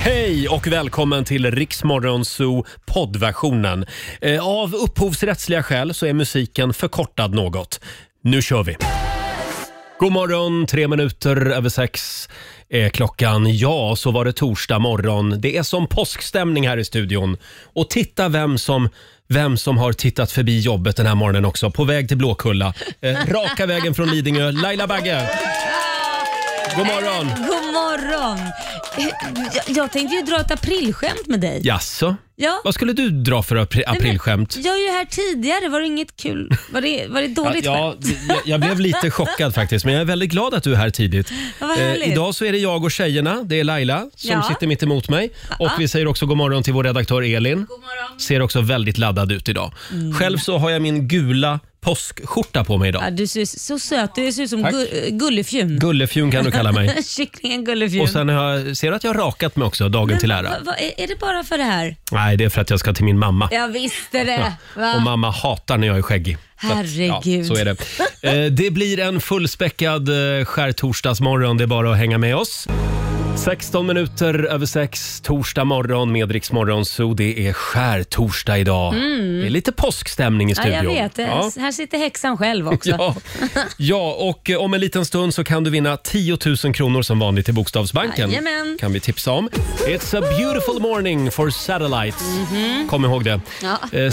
Hej och välkommen till Riksmorgon Zoo poddversionen. Eh, Av upphovsrättsliga skäl så är musiken förkortad något. Nu kör vi! God morgon, tre minuter över sex är klockan. Ja, så var det torsdag morgon. Det är som påskstämning här i studion. Och titta vem som, vem som har tittat förbi jobbet den här morgonen också. På väg till Blåkulla. Eh, raka vägen från Lidingö. Laila Bagge! God morgon! Eh, God morgon! Eh, Jag, jag tänkte ju dra ett aprilskämt med dig. Jaså? Ja. Vad skulle du dra för apri- aprilskämt? Jag är ju här tidigare, var det inget kul? Var det, var det dåligt ja, skämt? d- jag, jag blev lite chockad faktiskt, men jag är väldigt glad att du är här tidigt. Eh, Ja, vad härligt. idag så är det jag och tjejerna. Det är Laila som Ja. sitter mitt emot mig. Och vi säger också god morgon till vår redaktör Elin. God morgon. Ser också väldigt laddad ut idag. Mm. Själv så har jag min gula påskskjorta på mig idag. Ja, du ser så söt ut, du ser ut som Tack. gu, gullefjun. Gullefjun kan du kalla mig. Kycklingen Gullefjun. Och sen har jag, ser du att jag har rakat mig också, dagen till ära? Va, va, är är det bara för det här? Nej, det är för att jag ska till min mamma. Jag visste det! Och Va? mamma hatar när jag är skäggig. Så att, Herregud. Ja, så är det. Eh, det blir en fullspäckad eh, skärtorsdagsmorgon. Det är bara att hänga med oss. 16 minuter över 6, torsdag morgon med Rix Morgon Zoo. Det är skärtorsdag idag. Det är lite påskstämning i Mm. Ja, studion. jag vet. Ja. Här sitter häxan själv också. Ja. ja, och eh, om en liten stund så kan du vinna 10 000 kronor som vanligt i Bokstavsbanken. Jajamän. kan vi tipsa om. It's a beautiful morning for satellites. Mhm. Kom ihåg det. Mm-hmm. Ja. Eh,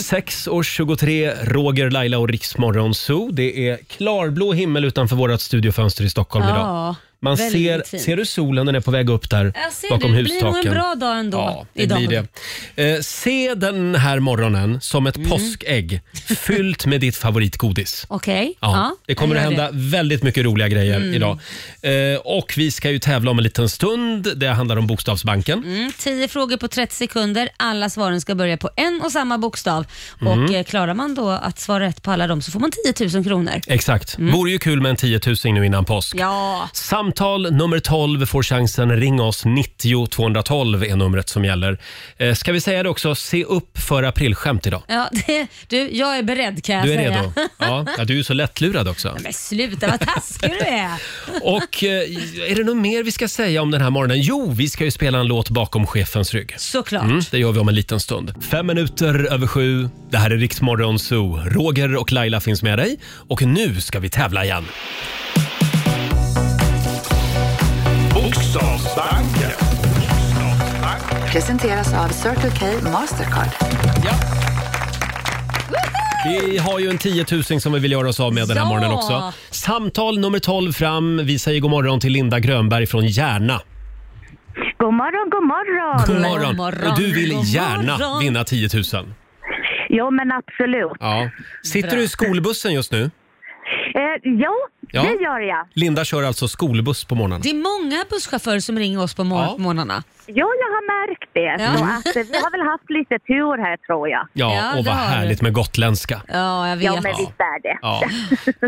6.23, Roger, Laila och Riksmorgon Zoo. Det är klarblå himmel utanför vårt studiofönster i Stockholm Ja, idag. Man väldigt ser, fint. ser du solen? Den är på väg upp där Jag ser bakom det. Det blir hustaken. nog en bra dag ändå. Ja, det idag. blir det. Eh, se den här morgonen som ett Mm. påskägg fyllt med ditt favoritgodis. Okej. Ja, det kommer jag att gör Mm. hända väldigt mycket roliga grejer idag. Eh, och vi ska ju tävla om en liten stund. Det handlar om Bokstavsbanken. Mm, 10 frågor på 30 sekunder. Alla svaren ska börja på en och samma bokstav. Mm. Och eh, Klarar man då att svara rätt på alla dem så får man 10 000 kronor. Exakt. Vore ju kul med en 10 000 nu innan påsk. Mm. Ja. Samtal nummer 12 får chansen. Ring oss. 90 212 är numret som gäller. Eh, ska vi säga det också? Se upp för aprilskämt idag. ja det, du, jag är beredd kan jag Du är säga. redo? Ja, ja, du är ju så lättlurad också. Men sluta, vad taskig du är. Och eh, är det något mer vi ska säga om den här morgonen? Jo, vi ska ju spela en låt bakom chefens rygg. Såklart. Mm, det gör vi om en liten stund. Fem minuter över sju. Det här är Riksmorgon Zoo. Roger och Laila finns med dig. Och nu ska vi tävla igen. Bokstavsbanken. Presenteras av Circle K Mastercard. Vi har ju en 10 000 som vi vill göra oss av med den här Ja. morgonen också. Samtal nummer 12 fram. Vi säger god morgon till Linda Grönberg från Järna. God morgon, god morgon. God God morgon. morgon. Och du vill God gärna morgon. vinna 10 000. Jo, men absolut. Ja. Sitter Bra. du i skolbussen just nu? Eh, ja, Ja. det gör jag. Linda kör alltså skolbuss på morgonen. Det är många busschaufförer som ringer oss på mor- Ja. morgnarna. Ja, jag har märkt det. Ja. Så att, eh, vi har väl haft lite tur här, tror jag. Ja, Ja, och det vad har du. härligt med gotländska. Ja, jag vet. Ja, men visst är det. Ja.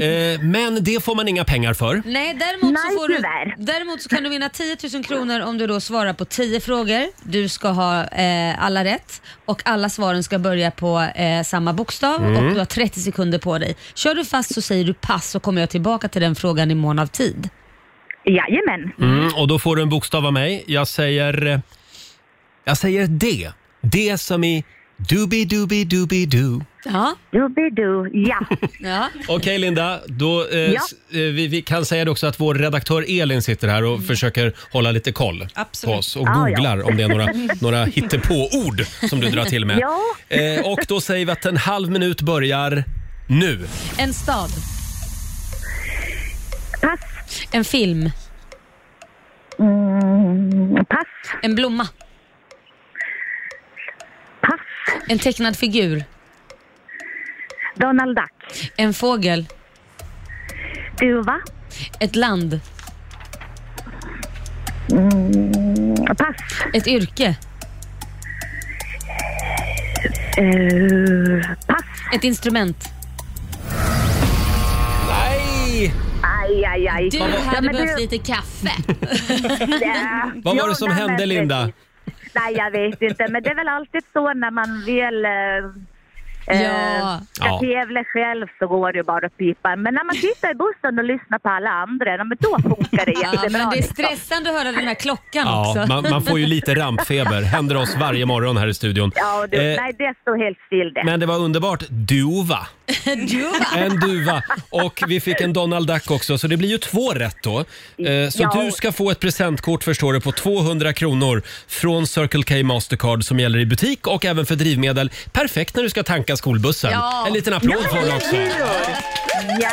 Eh, men det får man inga pengar för. Nej, däremot, Nej, så får du, tyvärr. däremot så kan du vinna 10 000 kronor om du då svarar på 10 frågor. Du ska ha eh, alla rätt och alla svaren ska börja på eh, samma bokstav Mm. och du har 30 sekunder på dig. Kör du fast så säger du pass så kommer jag tillbaka till den frågan i mån av tid. Jajamän. Mm, och då får du en bokstav av mig. Jag säger... eh, Jag säger D. D som i dooby-dooby-dooby-doo. Ja, Dooby-doo. Ja. ja. Okej Linda, då, eh, s- eh, vi, vi kan säga det också att vår redaktör Elin sitter här och försöker hålla lite koll Absolut. på oss och Mm. ja. googlar om det är några, några hittepåord som du drar till med. Ja. Eh, och då säger vi att en halv minut börjar nu. En stad, Pass. en film, Mm, pass. en blomma, Pass. en tecknad figur, Donald Duck. en fågel, Duva. ett land, Mm, Pass. ett yrke, Eh, pass. ett instrument. Nej! Aj, aj, aj. Du Ja, hade men behövt du- lite kaffe. Ja. Vad var Ja, det som nej, hände men Linda? precis. Nej, jag vet inte. Men det är väl alltid så när man väl eh, Ja. Ska Ja. tävla själv så går det ju bara att pipa. Men när man sitter i bussen och lyssnar på alla andra, ja, men då funkar det Ja, jättebra. men det är liksom. stressande att höra den här klockan Ja, också. man, man får ju lite rampfeber. Händer oss varje morgon här i studion. Ja, du, Eh, nej det står helt still det. Men det var underbart. Duva. Du, va? En duva. Och vi fick en Donald Duck också, så det blir ju två rätt då. Eh, Så Ja. du ska få ett presentkort förstår du på 200 kronor från Circle K Mastercard som gäller i butik och även för drivmedel. Perfekt när du ska tanka skolbussen. Ja. En liten applåd för honom också. Ja,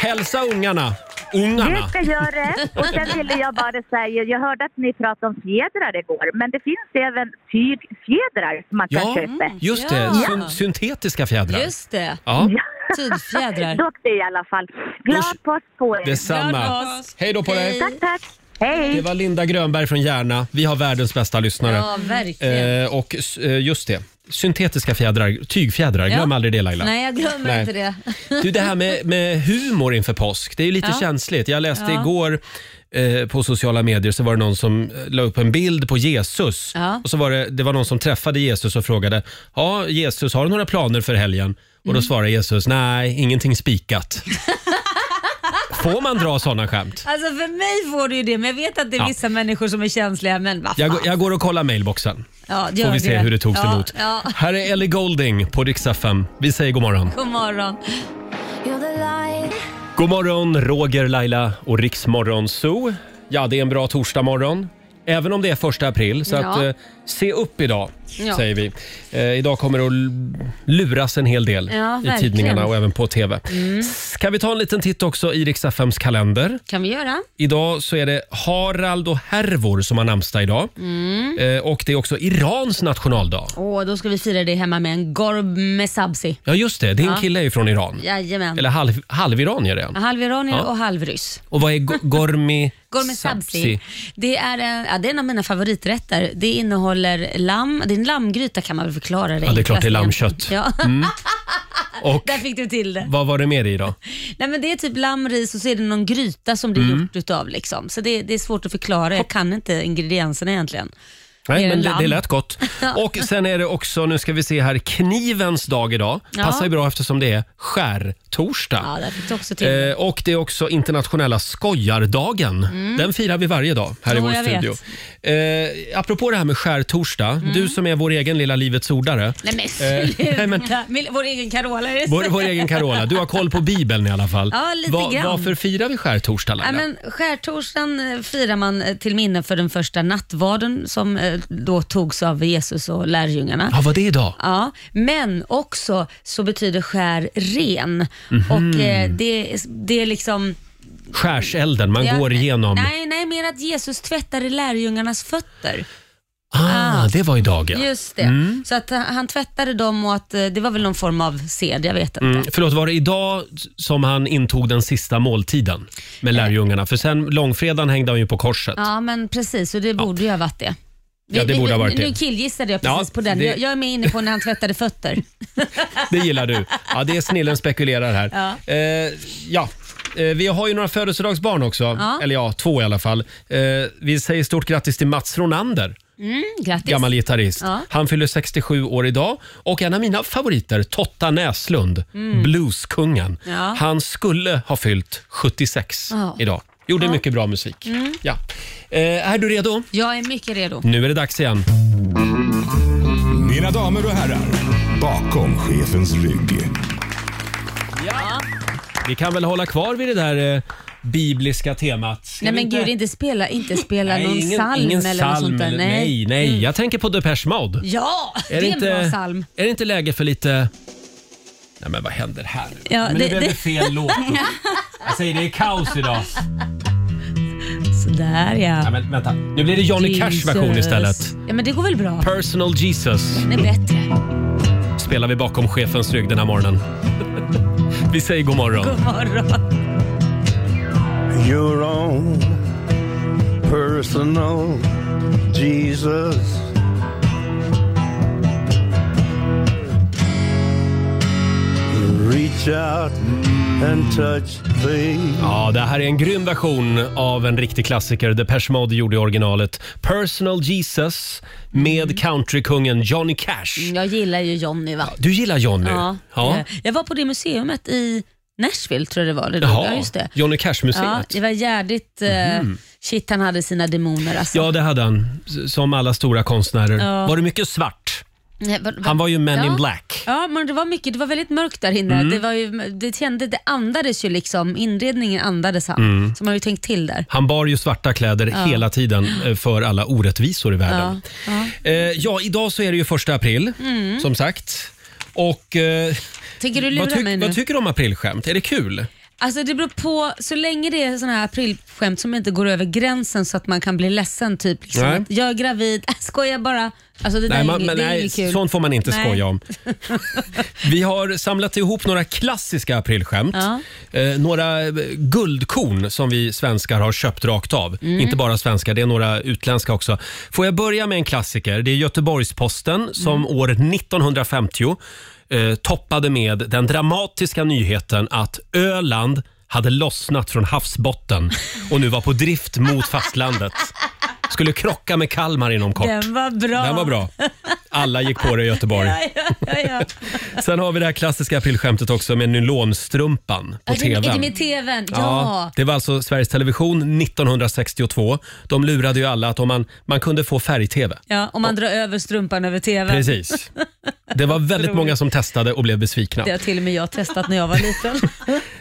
Hälsa ungarna. det Ungarna. ska jag göra. Och sen ville jag bara säga, jag hörde att ni pratade om fjädrar igår, men det finns även tygfjädrar som man kan Ja, köpa. just det. Ja. Syn- syntetiska fjädrar. Just det. Ja, Tidfjädrar. Dock det i alla fall. Glad Usch. påsk på er. detsamma. Glad påsk. Hej då på dig. Hej. Tack, tack. Hej. Det var Linda Grönberg från Järna. Vi har världens bästa lyssnare. Ja, verkligen. Eh, och s- eh, just det, syntetiska fjädrar, tygfjädrar. Glöm Ja. aldrig det Laila. Nej, jag glömmer Nej. inte det. Du, det här med, med humor inför påsk, det är ju lite Ja. känsligt. Jag läste Ja. igår eh, på sociala medier så var det någon som eh, la upp en bild på Jesus. Ja. Och så var det, det var någon som träffade Jesus och frågade, ja Jesus har du några planer för helgen? Och Mm. då svarade Jesus, nej ingenting spikat. Får man dra sådana skämt? Alltså för mig får du ju det, men jag vet att det är Ja. vissa människor som är känsliga, men vad fan. Jag, går- jag går och kollar mailboxen. Ja, Får gör vi se hur det togs ja, emot. Ja. Här är Ellie Golding på Rix FM. Vi säger god morgon. God morgon. God morgon, Roger, Laila och Riksmorgon Zoo. Ja, det är en bra torsdagmorgon. Även om det är första april, så Ja. att, eh, se upp idag, Ja. säger vi. Eh, idag kommer det att l- luras en hel del Ja, i verkligen. Mm. tidningarna och även på TV. Kan vi ta en liten titt också i Rix FMs kalender? Kan vi göra? Idag så är det Harald och Hervor som har namnsdag idag. Eh, och det är också Irans nationaldag. Mm. Åh, då ska vi fira det hemma med en gorb med sabzi. Ja, just det. Din Ja. kille är ju från Iran. Jajamän. Eller halv, halviranier är han. Halviranier Ja. och halvryss. Och vad är go- gormi... Gourmet sabzi. Det är, en, ja, det är en av mina favoriträtter. Det innehåller lamm. Det är en lammgryta kan man väl förklara det Ja, det är klart det är enklast lammkött. Mm. egentligen. Ja, Och där fick du till det. vad var det mer i då? Nej, men det är typ lamm, ris och så är det någon gryta som det Mm. är gjort utav. Liksom. Så det, det är svårt att förklara. Jag kan inte ingredienserna egentligen. Mer Nej, än men det, lamm. det lät gott. Och sen är det också, nu ska vi se här, knivens dag idag. Ja. Passar ju bra eftersom det är skärtorsdag. Ja, där fick du också till det. Eh, och det är också internationella skojardagen. Den firar vi varje dag här i Jo, vår Mm. studio. jag Eh, apropå det här med skärtorsdag, du som är vår egen lilla Livets ordare. Mm. Nej men Eh, sluta! nej, men- Min- Vår egen Carola är det Vår, så? vår egen Carola, du har koll på Bibeln i alla fall. Ja, lite grann. Varför firar vi skärtorsdag Laila? Nej, men skärtorsdagen eh, firar man eh, till minne för den första nattvarden som eh, då togs av Jesus och lärjungarna. Ja, vad det är idag? Ja, men också så betyder skär ren Mhm. och eh, det, det är liksom... Skärselden, man jag- går igenom. Nej, nej, mer att Jesus tvättade lärjungarnas fötter. Ah, det var idag ja. Mm. Just det. Så att han, han tvättade dem och att eh, det var väl någon form av sed, jag vet inte. Mm, förlåt, var det idag som han intog den sista måltiden med lärjungarna? För sen långfredagen hängde han ju på korset. Ja, men precis. Så det borde ju ha varit det. Vi- Ja, det vi- borde ha varit nu, det. Nu killgissade jag precis Ja, på den. det- Jag, jag är med inne på när han tvättade fötter. Det gillar du. Ja, det är snillen spekulerar här. Ja. Eh, ja. Eh, vi har ju några födelsedagsbarn också. Ja. Eller ja, två i alla fall. Eh, vi säger stort grattis till Mats Ronander, Mm, Grattis. gammal gitarrist. Ja. Han fyller 67 år idag. Och en av mina favoriter, Totta Näslund, blueskungen. Mm. Ja. Han skulle ha fyllt 76 Ja. idag. Gjorde mycket bra musik. Ja. Eh, är du redo? Mm. Jag är mycket redo. Nu är det dags igen. Mina damer och herrar, bakom chefens rygg. Vi kan väl hålla kvar vid det där eh, bibliska temat. Ska Nej vi men gud, inte spela, inte spela Nej, någon psalm ingen eller något psalm sånt där. Mm. eller- Nej, nej. Jag tänker på Depeche Mode. Ja, det är en bra psalm. Är det inte läge för lite... Nej men vad händer här nu? Ja, men det- det, blev det- det... fel låt. Jag säger det är kaos idag. Sådär Nej, ja. men vänta. Nu blir det Johnny Cash version Jesus. istället. Ja men det går väl bra. Personal Jesus Den är bättre. spelar vi bakom chefens rygg den här morgonen. Vi säger god morgon. God morgon. your own personal Jesus. Reach out and touch thee. Ja, det här är en grym version av en riktig klassiker Depeche Mode gjorde i originalet. Personal Jesus Mm. med countrykungen Johnny Cash. Jag gillar ju Johnny va? Du gillar Johnny? Ja. Jag var på det museumet i Nashville tror jag det var. Det drog. Jaha, ja, just det. Johnny Ja, Cash-museet. det var jädrigt... eh, Mhm. Shit, han hade sina demoner alltså. Mm. Ja, det hade han. S- Som alla stora konstnärer. Ja. Var det mycket svart? Nej, vad- vad- Han var ju Man ja. in Black. Mm. Ja, men det var mycket. Det var väldigt mörkt där inne. Det, var ju, det, kände, det andades ju liksom. Inredningen andades han. Mm. Så man har ju tänkt till där. Han bar ju svarta kläder hela tiden eh, för alla orättvisor i världen. Ja, ja idag så är det ju första april, som sagt. Och eh, Mm. Tänker du lura vad, tyck- mig nu? vad tycker du om aprilskämt? Är det kul? Alltså det beror på, så länge det är såna här aprilskämt som inte går över gränsen så att man kan bli ledsen. Typ liksom Nej. att jag är gravid, äh, skojar bara. Alltså det där Nej, är man, inget- men, det är nej inget kul. sånt får man inte Nej. skoja om. Vi har samlat ihop några klassiska aprilskämt. Ja. Eh, några eh, guldkorn som vi svenskar har köpt rakt av. Mm. Inte bara svenskar, det är några utländska också. Får jag börja med en klassiker? Det är Göteborgs-Posten som Mm. år 1950 eh, toppade med den dramatiska nyheten att Öland hade lossnat från havsbotten och nu var på drift mot fastlandet. Skulle krocka med Kalmar inom kort. Den var bra. Den var bra. Alla gick på det i Göteborg. Ja, ja, ja, ja. Sen har vi det här klassiska aprilskämtet också med nylonstrumpan på Är det- Är det tvn. med TVn? Ja. Ja, det var alltså Sveriges Television 1962. De lurade ju alla att om man, man kunde få färg-tv. Ja, om man drar över strumpan över TVn. Precis. Det var väldigt Otroligt. många som testade och blev besvikna. Det har till och med jag testat när jag var liten.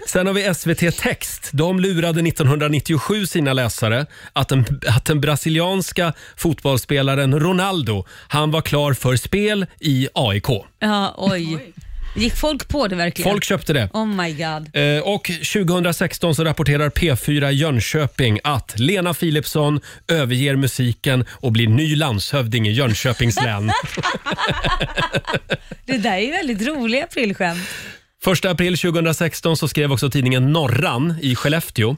Sen har vi SVT Text. De lurade 1997 sina läsare att den, att den brasilianska fotbollsspelaren Ronaldo, han var klar för spel i AIK. Ja, oj. Gick folk på det verkligen? Folk köpte det. Oh my god. Eh, Och 2016 så rapporterar P4 Jönköping att Lena Philipsson överger musiken och blir ny landshövding i Jönköpings län. Det där är ju väldigt roliga aprilskämt. Första april 2016 så skrev också tidningen Norran i Skellefteå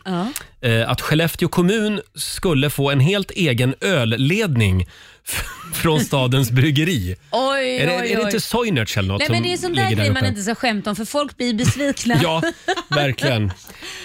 eh, att Skellefteå kommun skulle få en helt egen ölledning f- från stadens bryggeri. Oj, Är det, oj, oj. är det inte Soinerts eller något Nej, som men det är en sån där ligger grej man uppe? inte ska skämta om för folk blir besvikna. Ja, verkligen.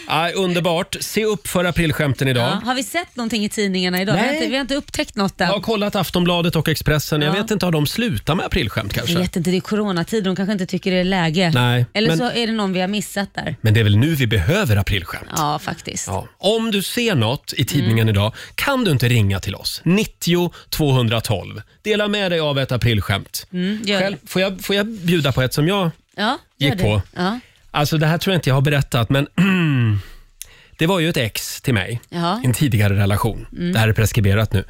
Aj, underbart. Se upp för aprilskämten idag. Ja. Har vi sett någonting i tidningarna idag? Vi har, Nej. inte, vi har inte upptäckt något än. Jag har kollat Aftonbladet och Expressen. Jag Ja. vet inte, har de slutat med aprilskämt kanske? Jag vet inte, det är coronatider. De kanske inte tycker det är läge. Nej, Eller men- så är det någon vi har missat där. Men det är väl nu vi behöver aprilskämt? Ja, faktiskt. Mm. Ja. Om du ser något i tidningen idag, kan du inte ringa till oss? 90 212. Dela med dig av ett aprilskämt. Mm, gör Själv, det. får, jag, får jag bjuda på ett som jag... Ja, gör gick det. på. Ja. Alltså det här tror jag inte jag har berättat, men det var ju ett ex till mig Ja. i Ah. en tidigare relation. Det här är preskriberat nu.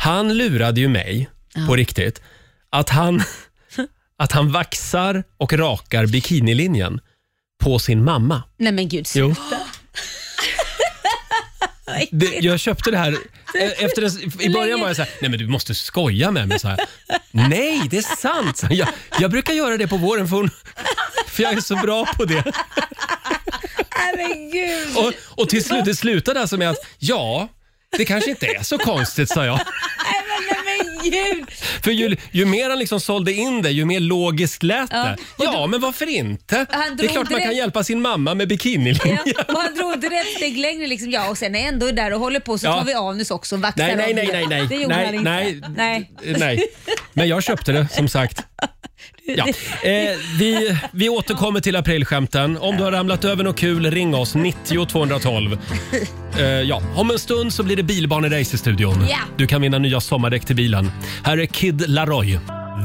Han lurade ju mig på riktigt att han, att han vaxar och rakar bikinilinjen på sin mamma. Nej men gud. Jo. Det, jag köpte det här eh, efter en, I början var jag så här, nej men du måste skoja med mig. Så här. Nej, det är sant. sa Jag, jag brukar göra det på våren för, hon, för jag är så bra på det. Nej men gud. Och, och till slut, det slutade alltså med att ja, det kanske inte är så konstigt sa jag. Nej men, nej, men gud. För ju, ju mer han liksom sålde in det, ju mer logiskt lät det. Ja, men varför inte? Han Det är drog klart man kan direkt- hjälpa sin mamma med bikinilinjen. Ja. Och han drog inte ett steg längre. Liksom. Ja, och sen är jag ändå där och håller på så Ja. tar vi av nu också och vaxar Nej, nej, av nej, det. nej, nej. Det gjorde nej, han inte. nej, nej. nej. Men jag köpte det som sagt. Ja. Eh, vi, vi återkommer till aprilskämten. Om du har ramlat över något kul, ring oss 90 212. Eh, ja. Om en stund så blir det bilbanerace i studion. Ja. Du kan vinna nya sommardäck till bilen. Här är Kid Laroi.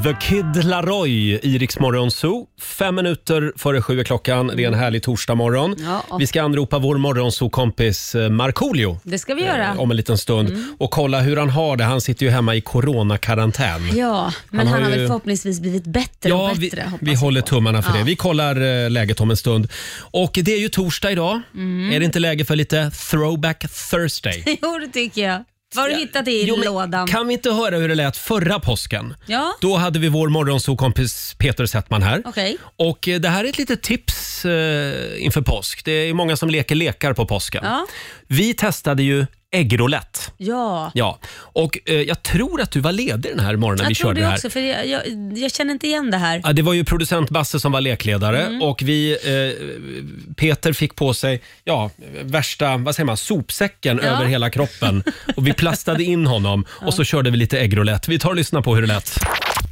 The Kid Laroi i Rix Morgon Zoo. Fem minuter före sju är klockan. Det är en härlig torsdagmorgon. Ja, och- Vi ska anropa vår morgonzoo-kompis eh, Markoolio Det ska vi göra. eh, om en liten stund Mm. och kolla hur han har det. Han sitter ju hemma i coronakarantän. Ja, men har han har, ju- väl förhoppningsvis blivit bättre Ja, och vi, bättre. hoppas vi jag håller på. tummarna för det. Vi kollar eh, läget om en stund. Och det är ju torsdag idag. Mm. Är det inte läge för lite throwback Thursday? Jo, det tycker jag. Vad har du hittat i Jo, men lådan? Kan vi inte höra hur det lät förra påsken? Ja. Då hade vi vår morgonsokompis Peter Settman här. Okej. Och eh, det här är ett litet tips eh, inför påsk. Det är många som leker lekar på påsken. Ja. Vi testade ju äggroulette. Ja. Ja, och eh, jag tror att du var ledig den här morgonen vi Jag tror körde det det här. också, för jag, jag, jag känner inte igen det här. Ja, det var ju producent Basse som var lekledare och vi, eh, Peter fick på sig, ja, värsta, vad säger man, sopsäcken Ja. över hela kroppen. Och vi plastade in honom och så körde vi lite äggroulette. Vi tar och lyssnar på hur det lät.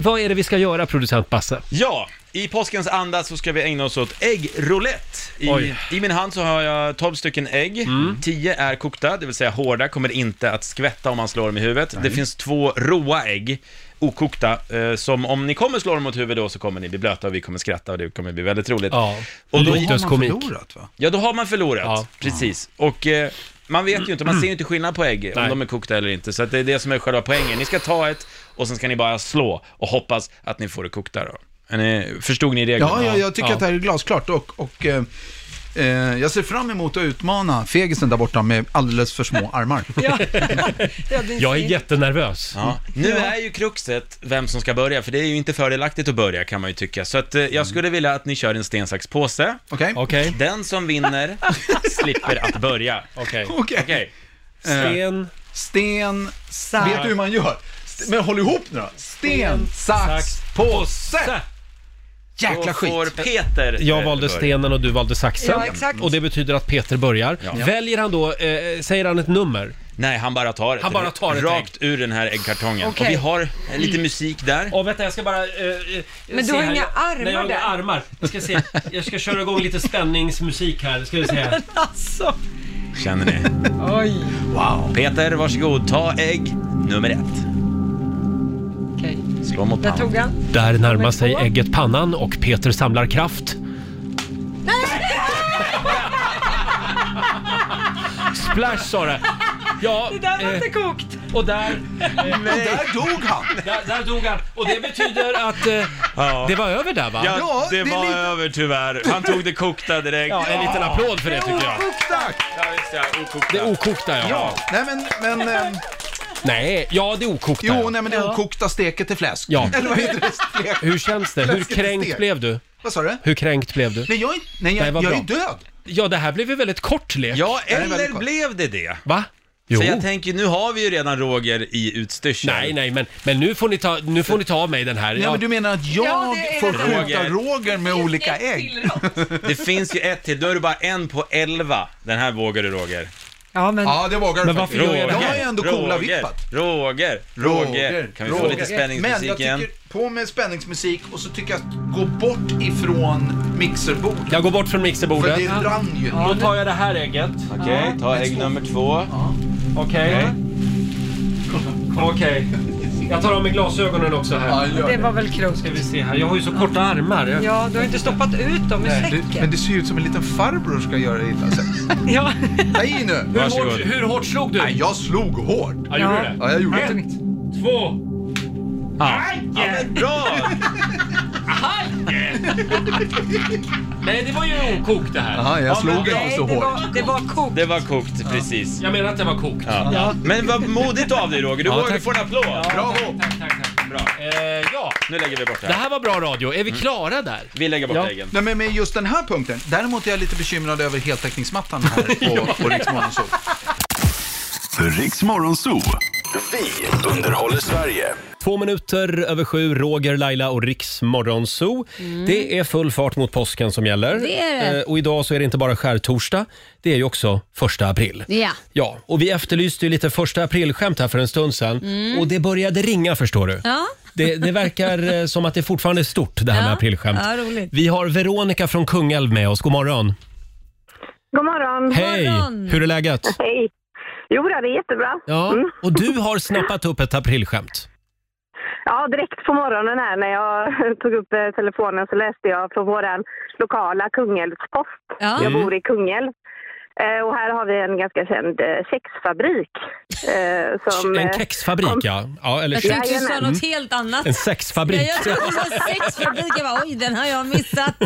Vad är det vi ska göra, producent Basse? Ja, i påskens anda så ska vi ägna oss åt äggroulette. I, Oj. Mm. I min hand så har jag 12 stycken ägg, 10 är kokta, det vill säga hårda, kommer inte att skvätta om man slår dem i huvudet. Det finns två råa ägg, okokta, eh, som om ni kommer slå dem mot huvudet då så kommer ni bli blöta och vi kommer skratta och det kommer bli väldigt roligt. Ja, Och då- låtdödskomik. förlorat va? Ja, då har man förlorat, Ja. precis. Och eh, man vet ju inte, man ser ju inte skillnad på ägg, Nej. om de är kokta eller inte. Så att det är det som är själva poängen. Ni ska ta ett och sen ska ni bara slå och hoppas att ni får det kokta då. Är ni- Förstod ni reglerna? Ja, ja, jag tycker Ja. att det här är glasklart och, och eh, eh, jag ser fram emot att utmana fegisen där borta med alldeles för små armar. Jag är jättenervös. Ja. Nu är ju kruxet vem som ska börja, för det är ju inte fördelaktigt att börja kan man ju tycka. Så att eh, jag skulle vilja att ni kör en sten, sax, påse. Okej? Mm. Okej. Den som vinner slipper att börja. Okej. Okej. Okej. Sten, Eh, Sten, vet du hur man gör? St- Men håll ihop nu då. Sten, sax, påse! Jäkla Då får skit. Peter eh, jag valde börja. stenen och du valde saxen. Ja, exakt. Och det betyder att Peter börjar. Väljer han då, eh, säger han ett nummer? Nej, han bara tar det. Han bara tar ett Rakt ur den här äggkartongen. Okej. Och vi har eh, lite musik där. Åh, vänta, jag ska bara... eh, eh, Men se du har här. inga Jag- armar Nej, jag har inga där. armar. Jag ska, se. jag ska köra igång lite spänningsmusik här, ska vi se. Alltså. Känner ni? Oj. Wow. Peter, varsågod. Ta ägg nummer ett. Okej. Slå mot Där tog pannan. han. Där närmar sig sig ägget pannan och Peter samlar kraft. Splash sa det. Ja, Det där var eh, inte kokt. och där, eh, Där dog han. där, där dog han. Och det betyder att eh, Ja. det var över där va? Ja, Ja, det, det är var lite- över tyvärr. Han tog det kokta direkt. Ja, en liten applåd för det tycker jag. Tack. Ja, just det. Okokta. Det okokta ja. Nej men, men, ehm, Nej, ja det okokta jo, ja. nej men det okokta steket är fläsk. Ja. Eller vad heter det? Stek? Hur känns det? Hur Fläskigt kränkt stek. blev du? Vad sa du? Hur kränkt blev du? Nej, jag är, inte- nej, jag, Nej, vad jag är bra. ju död. Ja, det här blev ju väldigt kort lek. Ja, är väldigt eller kort. blev det det? Va? Jo. För jag tänker, nu har vi ju redan Roger i utstyrseln. Nej, nej, men, men nu, får ni ta, nu får ni ta av mig den här. Nej, Ja, men du menar att jag Ja, det är får det. skjuta Roger. Roger med olika ägg? Det finns ju ett till. Då är det bara en på elva. Den här vågar du Roger. Ja, men Ja, det vågar du Men faktiskt. varför gör jag det Jag här? har ju ändå Roger, cola-vippat. Roger, Roger. Kan vi få Roger. lite Men spänningsmusik jag igen? tycker, på med spänningsmusik och så tycker jag att gå bort ifrån mixerbordet. jag går bort från För mixerbordet. det rann ju. Då tar jag det här ägget. Okej, ta ägg nummer två. Okej. Okej. Jag tar av mig glasögonen också Ja, här. gör det det. var väl klokt. Ska vi se här. Jag har ju så korta armar. Jag- Ja, du har inte stoppat ut dem i Du, men säcken. det ser ju ut som en liten farbror ska göra alltså. illa sig. Ja. Ta i nu! Hur Varsågod. hårt, hur hårt slog du? Nej, jag slog hårt. Ja, gjorde Ja. du det? Ja, jag gjorde det. Tungt. Två. Bra! Nej, det var ju okokt det här. Jaha, jag slog inte Nej, så det hårt. var, det var kokt. Det var kokt, precis. Jag menar att det var kokt. Ja. Men vad modigt av dig Roger, du vågar få en applåd. Bravo! Tack, tack, tack. Bra. Eh, ja, Nu lägger vi bort det det här. Mm. här var bra radio. Är vi klara där? Vi lägger bort Ja. äggen. Nej, men med just den här punkten. Däremot är jag lite bekymrad över heltäckningsmattan här på, på Riksmorgon Zoo. Riks Morgonzoo. Vi underhåller Sverige. Två minuter över sju, Roger, Laila och Riks Morgonzoo. Det är full fart mot påsken som gäller. Det är det. Eh, Och idag så är det inte bara skärtorsdag, det är ju också första april. Ja. Ja, och vi efterlyste ju lite första aprilskämt här för en stund sedan och det började ringa förstår du. Ja. Det, det verkar eh, som att det fortfarande är stort det här med Ja. aprilskämt. Ja, roligt. Vi har Veronica från Kungälv med oss, god morgon. God morgon. Hej! morgon. Hur är läget? Hej. Jo, det är jättebra. Ja, och du har snappat upp ett aprilskämt. Ja, direkt på morgonen här när jag tog upp eh, telefonen så läste jag från vår lokala Kungälvspost. Ja. Jag Mm. bor i Kungälv. Eh, Och här har vi en ganska känd eh, kexfabrik. eh, Som, En eh, kexfabrik ja. ja eller Jag kex. Mm. tänkte du sa Jajamän. något helt annat. En Ja, sexfabrik. jag trodde det var sexfabrik. Jag bara, oj, den har jag missat.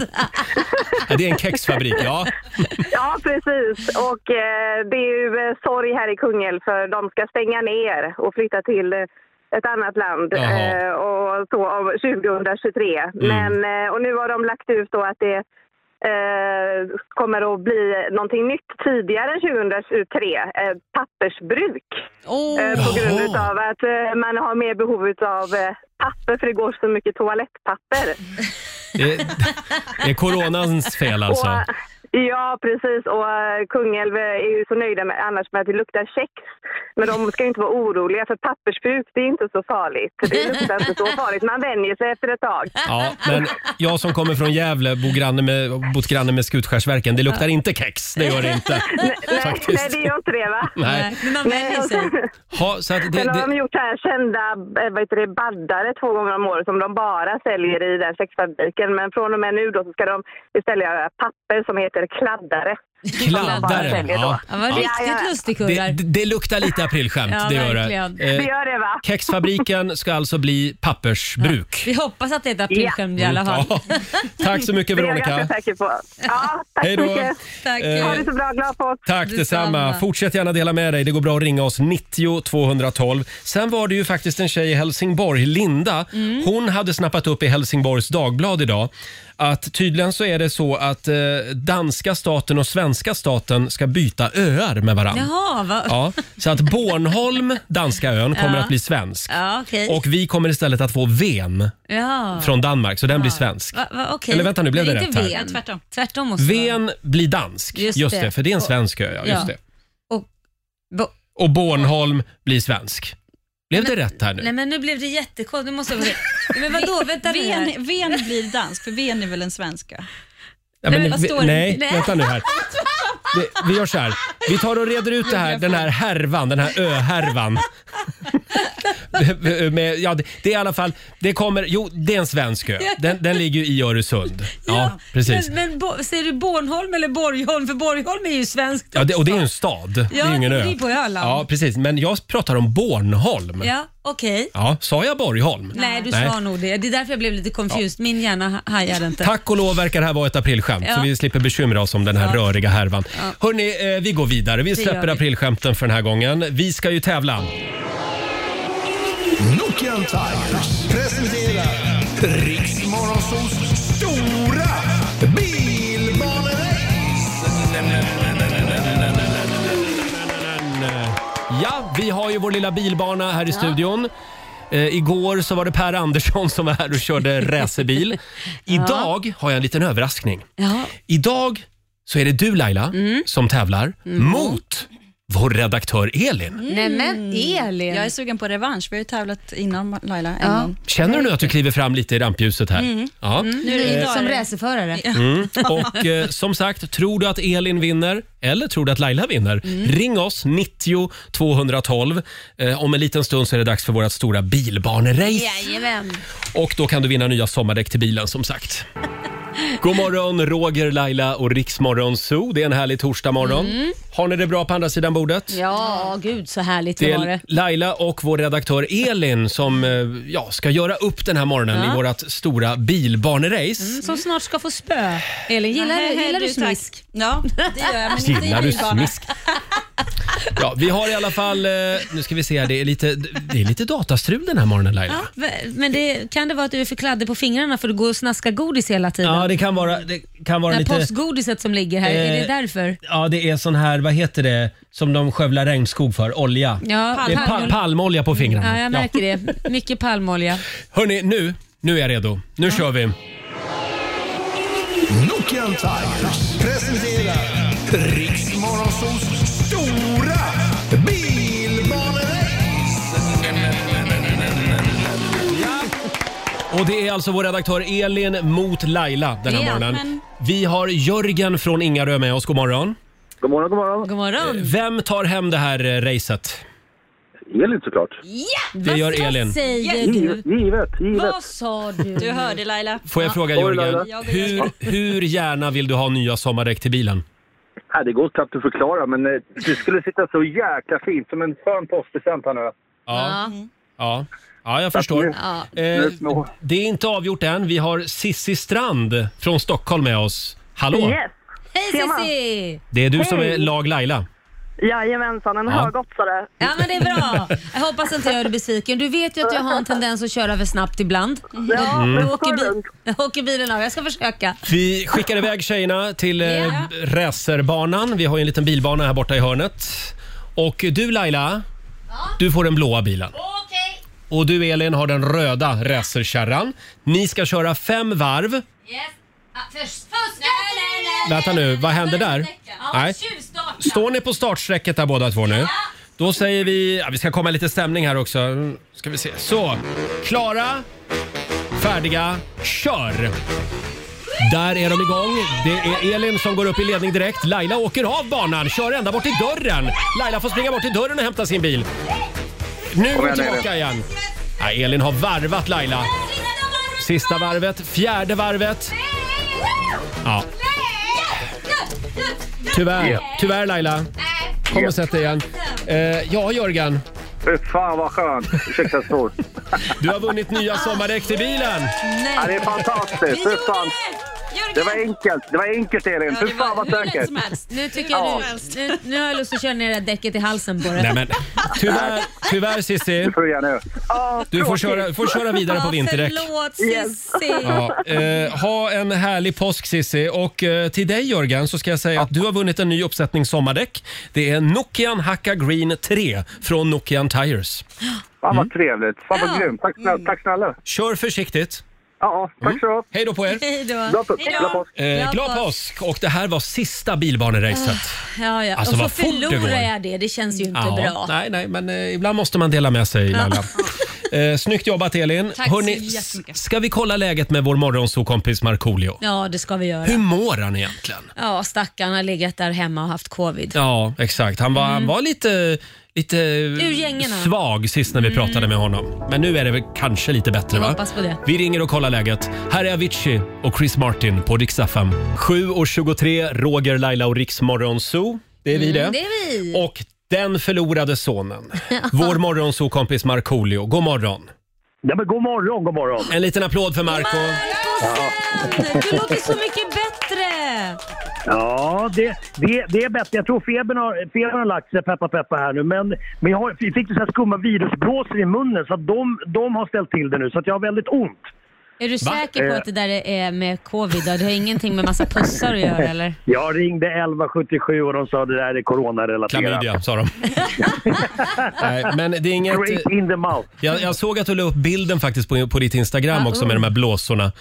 Ja, det är en kexfabrik, ja. Ja, precis. Och eh, det är ju eh, sorg här i Kungälv för de ska stänga ner och flytta till eh, ett annat land Jaha. Mm. eh, och så av 2023. Men, eh, och nu har de lagt ut då att det eh, kommer att bli någonting nytt tidigare än 2023, eh, pappersbruk. Eh, på grund Jaha. av att eh, man har mer behov av eh, papper för det går så mycket toalettpapper. Det det är coronans fel alltså. Och, ja, precis. Och eh, Kungälv är ju så nöjda med, annars med att det luktar kex. Men de ska ju inte vara oroliga, för pappersbruk det är inte så farligt. Det luktar inte så farligt. Man vänjer sig efter ett tag. Ja, men jag som kommer från Gävle, bor granne med, bott granne med Skutskärsverken, det luktar inte kex. Det gör det inte. Nej, Faktiskt. nej det gör inte det, va? Nej. Men man vänjer och sig. sen, Ha, så att det, sen har de det, gjort så här kända eh, vad heter det, baddare två gånger om året som de bara säljer i den sexfabriken. Men från och med nu då så ska de istället göra papper som heter kladdare. Kladdare, Som de bara säljer då. ja. Han var riktigt ja, ja. lustig det, kurrar. det luktar lite aprilskämt. Ja, det gör det. verkligen. Det Eh, gör det va? kexfabriken ska alltså bli pappersbruk. Vi hoppas att det är ett aprilskämt i alla fall. Ja. Mm, Tack så mycket Det är jag Veronica. ganska säker på. Ja, tack Hej så då. mycket. Tack. Eh, Ha det så bra, glad folk. Tack detsamma. Detsamma. Fortsätt gärna dela med dig. Det går bra att ringa oss 90 212. Sen var det ju faktiskt en tjej i Helsingborg, Linda. Hon hade snappat upp i Helsingborgs Dagblad idag att tydligen så är det så att eh, danska staten och svenska staten ska byta öar med varandra. Jaha, vad... Ja, så att Bornholm, danska ön, kommer att bli svensk. Ja, okej. Och vi kommer istället att få Ven Ja. från Danmark, så den blir svensk. Va, va, okej. Eller vänta, nu blev det inte rätt här. Ven. Tvärtom. Tvärtom måste det vara. Ven blir dansk, just, Just det. det. för det är en Och- svensk ö. Ja, just ja. det. Och, bo, och Bornholm blir svensk. Blev det rätt här nu? nej men nu blev det jättekonstigt. Nu måste jag... Nej, men vadå, vänta nu här. Ven, ven blir dansk, för ven är väl en svenska? Ja, men, vad vi- står det? nej, Nej. vänta nu här. Vi, vi gör så här. Vi tar och reder ut det här, den här härvan, den här ö-härvan. Med, ja, det, det är i alla fall, det kommer, jo det är en svensk ö. Den, den ligger ju i Öresund. Ja, precis. Men, men bo, säger du Bornholm eller Borgholm? För Borgholm är ju svenskt. Ja, det, och det är ju en stad, det är ju ingen det ö. är på Öland. Ja, precis. Men jag pratar om Bornholm. Ja, okej. Ja, sa jag Borgholm? Nej, du Nej. sa nog det. Det är därför jag blev lite confused. Min hjärna ha- hajade inte. Tack och lov verkar det här vara ett aprilskämt Ja. så vi slipper bekymra oss om den här röriga härvan. Hörni, eh, vi går vidare. Vi släpper vi. aprilskämten för den här gången. Vi ska ju tävla. Nokian Tigers presenterar Riks Morgonzoos stora bilbanerace. eh, Ja, vi har ju vår lilla bilbana här i studion. Eh, igår så var det Per Andersson som var här och körde racerbil. Idag har jag en liten överraskning. Ja. Mm. Idag så är det du Laila som tävlar mot vår redaktör Elin. Mm. Nej men Elin. Jag är sugen på revansch. Vi har ju tävlat innan Laila en Ja. gång. Känner du nu att du kliver fram lite i rampljuset här? Ja. Mm. Nu är det Eh, som racerförare. Och eh, som sagt, tror du att Elin vinner eller tror du att Laila vinner? Mm. Ring oss, 90 212. Eh, om en liten stund så är det dags för vårt stora bilbanerace. Jajamän. Och då kan du vinna nya sommardäck till bilen som sagt. God morgon, Roger, Laila och Riksmorgon Zoo. Det är en härlig torsdagmorgon. Har ni det bra på andra sidan bordet? Mm. Ja, gud så härligt Det det var är det. Laila och vår redaktör Elin som eh, ja, ska göra upp den här morgonen i vårt stora bilbanerace. Mm, Som snart ska få spö. Elin, gillar, Nej, gillar du tack. smisk? Ja, det gör jag, men inte i Gillar du bilbanan. smisk? Ja, vi har i alla fall, eh, nu ska vi se, här, det är lite, det är lite datastrul den här morgonen Laila. V- Men det, kan det vara att du är för kladdig på fingrarna för du går och snaskar godis hela tiden? Ja, det kan vara, det kan det vara här lite... postgodiset som ligger här, är det Eh, därför? Ja, det är sån här, vad heter det, som de skövlar regnskog för, olja. Ja, Det är pa- palmolja. Mm, palmolja på Ja, fingrarna. jag märker det. Mycket palmolja. Hörni, nu, nu är jag redo. Nu kör vi. Nokian Tigers presenterar Riks Morgonzoos stora bilbanerace. Och det är alltså vår redaktör Elin mot Laila den här Ja, morgonen. men- Vi har Jörgen från Ingarö med oss, god morgon. Eh, God morgon, god morgon. God morgon. Vem tar hem det här eh, racet? Elin såklart. Det gör Elin. Vad säger Givet, du? givet. givet. Vad sa du? Du hörde Laila. Får jag fråga Jörgen, Laila. Jag vill- hur, hur gärna vill du ha nya sommardäck till bilen? Nej, det går knappt att förklara, men eh, det skulle sitta så jäkla fint som en skön postpresent här nu. Ja, Ja. ja. ja jag förstår. Mm. Ja. Eh, små. det är inte avgjort än. Vi har Sissi Strand från Stockholm med oss. Hallå! Yes. Hej Tjena. Cissi! Det är du som Hej. är lag Laila. Jajamensan, en Ja. högoddsare. Ja men det är bra. Jag hoppas inte jag gör dig besviken. Du vet ju att jag har en tendens att köra för snabbt ibland. Ja, Då- men då åker, bil, då åker bilen av. Jag ska försöka. Vi skickar iväg tjejerna till yeah. Ja. racerbanan. Vi har ju en liten bilbana här borta i hörnet. Och du Laila, du får den blåa bilen. Och du Elin har den röda racerkärran. Ni ska köra fem varv. Vänta nu, vad händer där? Nej. Står ni på startsträcket där båda två nu? Då säger vi, ja, vi ska komma i lite stämning här också. Ska vi se. Så, klara, färdiga, kör! Där är de igång. Det är Elin som går upp i ledning direkt. Laila åker av banan, kör ända bort till dörren. Laila får springa bort till dörren och hämta sin bil. Nu är Kom hon igen, tillbaka Elin. igen. Ja, Elin har varvat Laila. Sista varvet, fjärde varvet. Ja, tyvärr, tyvärr Laila. Kom och sätt dig igen. Eh, ja, Jörgen. Fy fan vad skönt! Ursäkta snor. Du har vunnit nya sommardäck till bilen. Ja, det är fantastiskt! Fy fan. Det var enkelt, det var enkelt Elin. Fy fan vad säkert. Nu tycker jag du, nu, nu har jag lust att köra ner det där däcket i halsen på dig. Nej, men, tyvärr, tyvärr Cissi. Du får köra, får köra vidare på Ja, vinterdäck. Förlåt Cissi. Ja, eh, ha en härlig påsk Sissi och eh, till dig Jörgen så ska jag säga att du har vunnit en ny uppsättning sommardäck. Det är Nokian Hakka Green 3 från Nokian Tires. Fan vad trevligt. Fan vad grymt. Tack snälla. Mm. Tack snälla. Mm. Kör försiktigt. Mm. Ja, tack så mycket. Hej då på er. Hej då. Glad påsk. Hej då. Glad påsk. Eh, glad påsk! Och det här var sista bilbaneracet. Ah, Ja, ja. Alltså, och vad så fort det går. förlorar jag det. Det känns ju Ah, inte Ja, bra. Nej, nej, men eh, ibland måste man dela med sig Laila. Eh, snyggt jobbat Elin. Tack så s- jättemycket. ska vi kolla läget med vår morgonsokompis Markoolio? Ja, det ska vi göra. Hur mår han egentligen? Ja, stackarn har legat där hemma och haft covid. Ja, exakt. Han var, Mm. han var lite, lite gängorna. svag sist när vi pratade med honom. Men nu är det väl kanske lite bättre Mm. Jag va? hoppas på det. Vi ringer och kollar läget. Här är Avicii och Chris Martin på Rix FM. 7.23, Roger, Laila och Rix Morgonzoo. Det är vi det. Mm, det är vi. Och den förlorade sonen. Vår morgonzoo-kompis Markoolio. God morgon. Ja, men god morgon, god morgon. En liten applåd för Marco. Du låter så mycket bättre! Ja, det, det, det är bättre. Jag tror febern har, febern har lagt sig, peppa peppa här nu. Men, men jag har, jag fick så här skumma virusblåsor i munnen så att de, de har ställt till det nu. Så att jag har väldigt ont. Är du Va? säker på Eh. att det där är med covid? då? Det har ingenting med massa pussar att göra eller? Jag ringde 1177 och de sa det där är coronarelaterat. Klamydia, sa de. Nej, men det är inget... Straight in the mouth. Jag, jag såg att du la upp bilden faktiskt på, på ditt Instagram Ah, också oh. med de här blåsorna.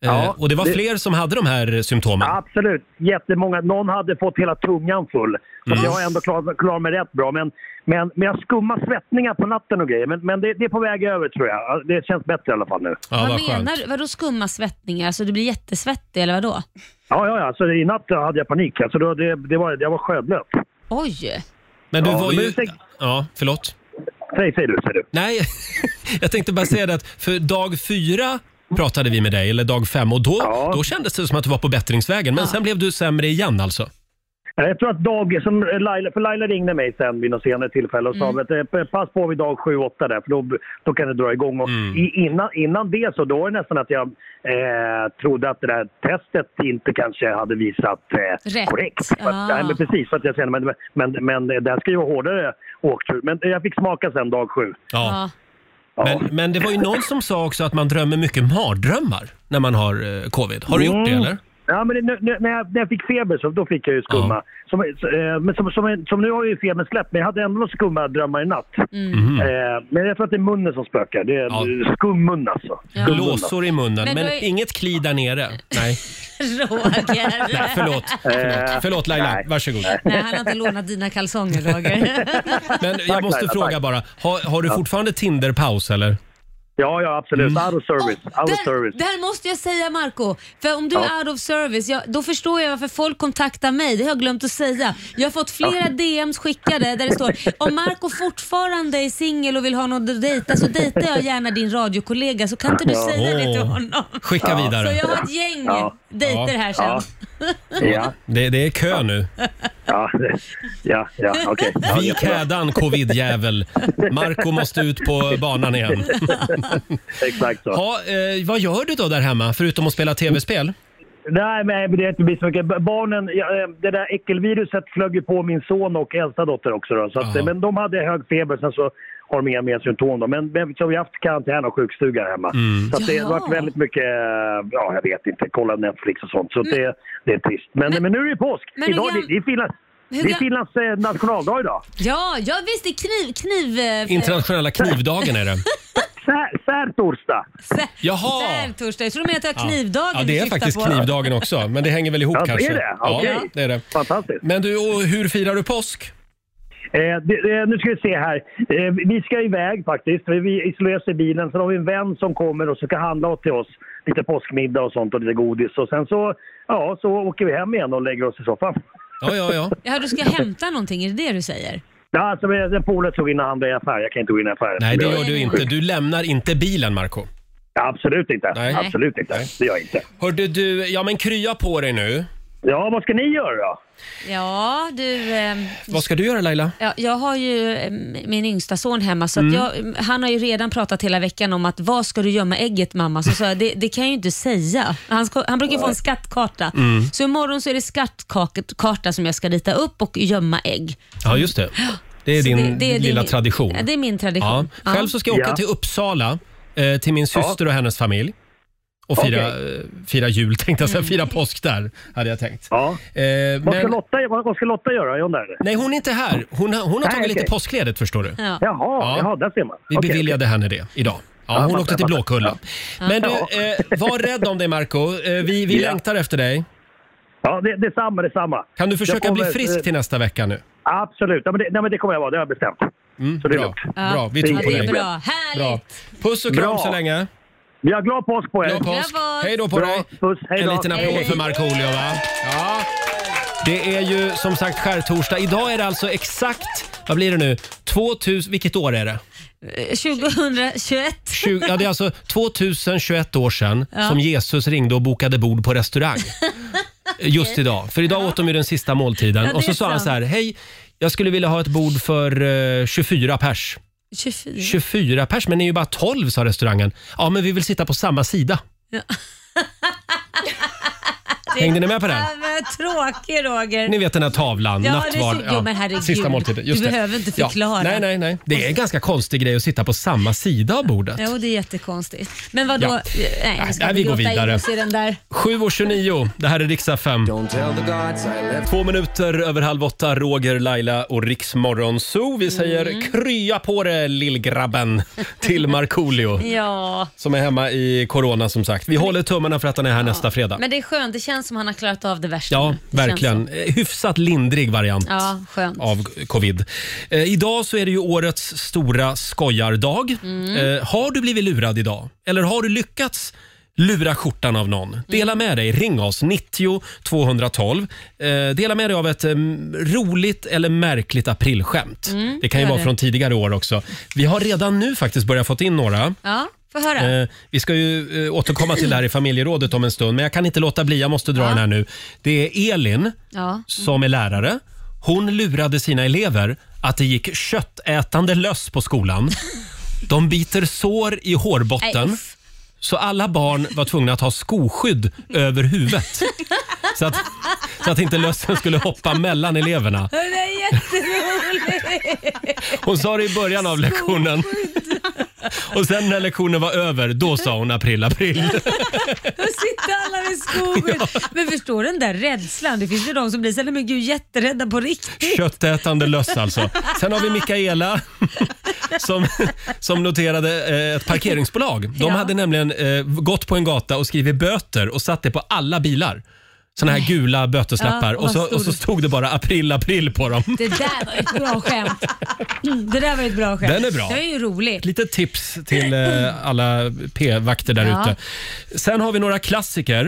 Ja, eh, och det var det- fler som hade de här eh, symptomen. Absolut, jättemånga. Någon hade fått hela tungan full. Så Mm. jag har ändå klarat klar mig rätt bra. Men, men, men jag skummar svettningar på natten och grejer. Men, men det, det är på väg över tror jag. Det känns bättre i alla fall nu. vad menar du? Vadå skumma svettningar? Alltså du blir jättesvettig eller vadå? Ja, ja, ja. Alltså, I natt hade jag panik. Alltså, då, det, det var, jag var sjöblöt. Oj! Men du Ja, var men ju... tänk- Ja, förlåt. Säg, säg du, säg du. Nej, jag tänkte bara säga det att för dag fyra pratade vi med dig, eller dag fem, och då, då kändes det som att du var på bättringsvägen. Men sen blev du sämre igen alltså. Eh, Jag tror att dag, som Laila, för Laila ringde mig sen vid något senare tillfälle och sa Mm. att eh, pass på vid dag 7-8 där för då, då kan det dra igång. Och Mm. i, innan, innan det så då var det nästan att jag eh, trodde att det där testet inte kanske hade visat eh, Rätt. korrekt. För Att, Ah. nej, men precis, för att jag kände men, men, men det där ska ju vara hårdare åktur. Men jag fick smaka sen dag 7. Ja. Men, men det var ju någon som sa också att man drömmer mycket mardrömmar när man har eh, covid. Har du gjort det Mm. eller? Ja, men det- nu, nu, när, jag, när jag fick feber så då fick jag ju skumma. Som, eh, men som, som, som nu har ju febern släppt, men jag hade ändå skumma drömmar i natt. Mhm. Eh, men jag tror att det är munnen som spökar. Det är skummun alltså. Skummun, alltså. Blåsor i munnen, men, Men då är- inget kli där nere. Nej, Roger! nej förlåt. Eh, förlåt. Förlåt Laila, varsågod. Nej, han har inte lånat dina kalsonger Roger. Men jag måste Laila, fråga tack. bara, har, har du Ja. fortfarande Tinder-paus eller? Mm. Ja, ja absolut. Out of service. Out of service. Det här måste jag säga Marco för om du Ja. är out of service, ja, då förstår jag varför folk kontaktar mig. Det har jag glömt att säga. Jag har fått flera DMs skickade där det står om Marco fortfarande är singel och vill ha någon att dejta så dejtar jag gärna din radiokollega så kan inte du Ja. säga det till Åh. honom? Skicka vidare. Så jag har ett gäng Ja. dejter här sen. Ja. Det, det är kö nu. Ja, ja, ja okej. Ja, Vik jättebra. hädan covidjävel. Marco måste ut på banan igen. Exakt så. Ha, eh, vad gör du då där hemma, förutom att spela tv-spel? Nej, men det har inte blivit så mycket. B- Barnen, ja, eh, det där äckelviruset flög ju på min son och äldsta dotter också. Då, så att, eh, men de hade hög feber, sen så har de inga mer symptom. Då. Men, men så har vi haft karantän och sjukstuga hemma. Så att det har Jaha. varit väldigt mycket, eh, ja jag vet inte, kolla Netflix och sånt. Så att det, det är trist. Men, men, nu är det påsk! Mm. men hur idag, gam- det, det är Finlands, hur det är gam- Finlands eh, nationaldag idag. Ja, ja visst det är kniv... kniv eh, Internationella knivdagen är det. Särtorsdag. Jaha! Särtorsdag. Jag tror mer att det var knivdagen Ja, det du är syftar faktiskt på. knivdagen också, men det hänger väl ihop Ja, det är kanske. det. Okej. Ja, det är det. Fantastiskt. Men du, och hur firar du påsk? Eh, det, eh, nu ska vi se här. Eh, vi ska iväg faktiskt. Vi- Vi isolerar oss i bilen. Sen har vi en vän som kommer och så ska handla åt till oss. Lite påskmiddag och sånt och lite godis. Och sen så, ja, så åker vi hem igen och lägger oss i soffan. Ja, ja, ja. Ja, du ska hämta någonting, är det det du säger? Ja, alltså, men en polare tog in och handlade i affär. Jag kan inte gå in i affären. Nej, det gör du inte. Du lämnar inte bilen, Marco. Absolut inte. Absolut inte. Det gör jag inte. Hörde du, ja men krya på dig nu. Ja, vad ska ni göra då? Ja, du... ehm, Vad ska du göra Laila? Ja, jag har ju eh, min yngsta son hemma, så att Mm. jag, ehm, han har ju redan pratat hela veckan om att var ska du gömma ägget mamma? Så sa jag, det, det kan jag ju inte säga. Han, ska, han brukar få en skattkarta. Mm. Så imorgon så är det skattkarta som jag ska rita upp och gömma ägg. Ja, just det. Det är Så din det- det är Mm, lilla din- tradition. Ja, det är min tradition. Ja. Själv så ska jag åka till Uppsala eh, till min syster och hennes familj. Och fira, eh, fira jul tänkte jag säga, Mm. fira påsk där hade jag tänkt. Ja. Eh, Vad ska, men, Lotta, vad, vad ska Lotta göra? Är hon där? nej, hon är inte här. Hon, har- hon har Nej, tagit lite okej. påskledigt förstår du. Jaha, ja. jaha, där ser man. Vi Okej, beviljade henne det idag. Ja, Ja, hon jag åkte fattar, till jag Blåkulla. Ja. Men du, Ja. eh, var rädd om dig Marco. Eh, vi vi Ja. längtar efter dig. Ja, det, detsamma, detsamma. Kan du försöka Jag bli kommer, frisk eh, till nästa vecka nu? Absolut. Ja, men det, nej, men det kommer jag vara. Det har jag bestämt. Så det är lugnt. Ja. Mm, Bra, vi tror på det är dig. bra. Härligt! Bra. Puss och kram Bra. så länge. Vi har glad påsk på er. Glad påsk. Glad påsk. Hej då på Bra. dig. Puss, hej en då. liten applåd Hej. för Markoolio va? Ja. Det är ju som sagt skärtorsdag. Idag är det alltså exakt, vad blir det nu, 2000, vilket år är det? Eh, 2021. 20, ja, det är alltså 2021 år sedan Ja. som Jesus ringde och bokade bord på restaurang. Just idag. För idag åt de ju den sista måltiden. Ja, det och så är sa han sant. så här, hej, jag skulle vilja ha ett bord för eh, 24 pers. 24. 24 pers, men ni är ju bara 12 sa restaurangen. Ja, men vi vill sitta på samma sida. Hängde ni med på den? Ja, men tråkig Roger. Ni vet den här tavlan, Eh. Ja, det är så- nattvard, jo, men herregud. sista måltiden. Just Du det. behöver inte Ja, förklara. Nej, nej, nej. Det är en ganska konstig grej att sitta på samma sida av bordet. Jo, det är jättekonstigt. Men vadå? Ja. Nej, jag ska Nej, inte vi går grotta in vidare. oss i den där. 7.29, det här är Riksdag 5. Två minuter över halv åtta, Roger, Laila och Riksmorgon Zoo. Vi säger Mm. krya på dig lillgrabben till Markoolio. Ja. Som är hemma i corona som sagt. Vi håller tummarna för att han är här nästa fredag. Men det är skönt, det känns som han har klarat av det värsta. Ja, nu. Det känns verkligen. Eh, Hyfsat lindrig variant så. Ja, skönt. av covid. Eh, idag så är det ju årets stora skojardag. Mm. Eh, har du blivit lurad idag? Eller har du lyckats lura skjortan av någon? Mm. Dela med dig. Ring oss, 90 212. Eh, dela med dig av ett eh, roligt eller märkligt aprilskämt. Mm, det kan ju gör vara det. från tidigare år också. Vi har redan nu faktiskt börjat fått in några. Ja, få höra. Eh, vi ska ju eh, återkomma till det här i familjerådet om en stund, men jag kan inte låta bli. Jag måste dra den här nu. Det är Elin Ja. som är lärare. Hon lurade sina elever att det gick köttätande löss på skolan. De biter sår i Nej, hårbotten. uff. Så alla barn var tvungna att ha skoskydd över huvudet. Så att, så att inte lössen skulle hoppa mellan eleverna. Det är jätteroligt. Hon sa det i början av lektionen. Och sen när lektionen var över, då sa hon april, april. Då sitter alla med skogen. Men förstår du den där rädslan? Det finns ju de som blir såhär, men gud jätterädda på riktigt. Köttätande löss alltså. Sen har vi Mikaela som, som noterade eh, ett parkeringsbolag. De Ja. hade nämligen eh, gått på en gata och skrivit böter och satt det på alla bilar. Såna här gula böteslappar Ja, och och, så, vad stod och så det? stod det bara april, april på dem. Det där var ett bra skämt. Mm, Det där var ett bra skämt. Den är bra. Det är ju roligt. Lite tips till eh, alla p-vakter där Ja. ute. Sen har vi några klassiker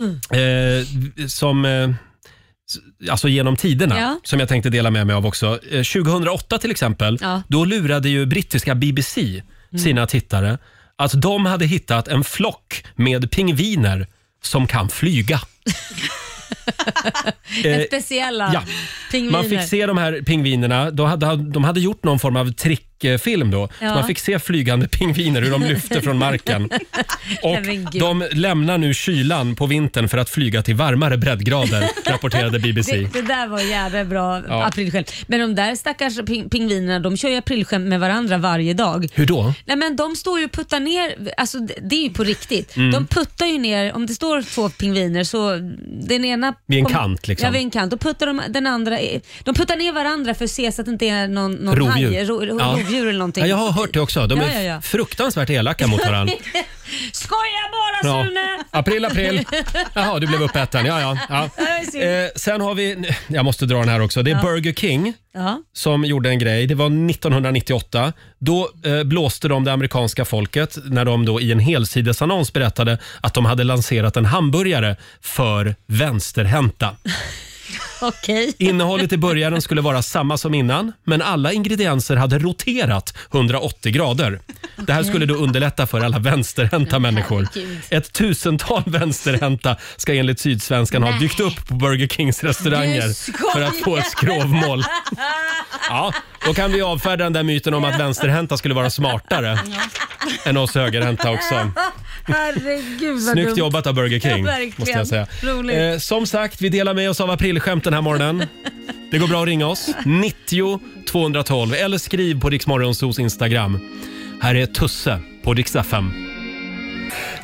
Mm. Mm, eh, som eh, s- Alltså genom tiderna, Ja. som jag tänkte dela med mig av också. Eh, 2008 till exempel, Ja. Mm. då lurade ju brittiska BBC sina tittare att de hade hittat en flock med pingviner som kan flyga. En Eh, speciella ja. pingviner. Man fick se de här pingvinerna. De hade, de hade gjort någon form av trick skräckfilm då. Ja. Man fick se flygande pingviner hur de lyfte från marken. Och Nej, men gud. de lämnar nu kylan på vintern för att flyga till varmare breddgrader, rapporterade BBC. Det, det där var jävla bra Ja. aprilskämt. Men de där stackars ping pingvinerna, de kör ju aprilskämt med varandra varje dag. Hur då? Nej men de står ju och puttar ner, alltså det det är ju på riktigt. Mm. De puttar ju ner, om det står två pingviner så den ena... Vid en kant, liksom. Ja vid en kant. Då puttar de den andra, i- de puttar ner varandra för att se så att det inte är någon, någon haj, ro, ro, rovdjur eller någonting. Ja, jag har hört det också. De är Ja, ja, ja. fruktansvärt elaka mot varandra. Skoja bara Ja. Sune! April, april. Jaha, du blev uppäten. Ja, ja, Ja, det ja. är Eh, sen har vi, jag måste dra den här också. Det är Ja. Burger King Ja. som gjorde en grej. Det var 1998. Då eh, blåste de det amerikanska folket när de då i en helsidesannons berättade att de hade lanserat en hamburgare för vänsterhänta. Okej. Innehållet i början skulle vara samma som innan, men alla ingredienser hade roterat 180 grader. Det här Okej. skulle då underlätta för alla vänsterhänta människor. herregud. Ett tusental vänsterhänta ska enligt Sydsvenskan ha Nej. dykt upp på Burger Kings restauranger Du skojar. för att få ett skrovmål. Ja, då kan vi avfärda den där myten om att vänsterhänta skulle vara smartare än oss högerhänta också. Herregud vad Snyggt dumt. jobbat av Burger King, Ja, verkligen. måste jag säga. Roligt. Eh, som sagt, vi delar med oss av aprilskämt den här morgonen. Det går bra att ringa oss, 90 212 eller skriv på Riksmorgonsos Instagram. Här är Tusse på Rix FM.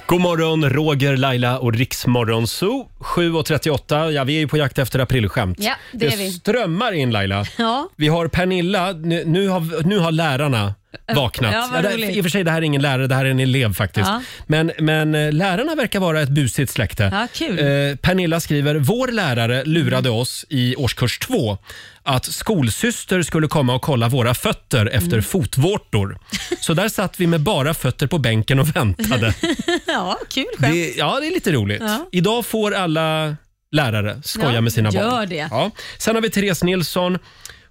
God morgon, Roger, Laila och Riksmorgonso. 7.38, ja vi är ju på jakt efter aprilskämt. Ja, det är vi. strömmar in Laila. Ja. Vi har Pernilla, nu, nu, har, nu har lärarna vaknat. Ja, vad det, roligt. I och för sig, det här är ingen lärare, det här är en elev faktiskt. Ja. Men, men eh, lärarna verkar vara ett busigt släkte. Ja, kul. Mm. Eh, Pernilla skriver, vår lärare lurade oss i årskurs två att skolsyster skulle komma och kolla våra fötter efter Mm. fotvårtor. Så där satt vi med bara fötter på bänken och väntade. ja, kul skämt. Det, ja, det är lite roligt. Ja. Idag får alla lärare skoja Ja, med sina gör barn. det. Ja. Sen har vi Therese Nilsson.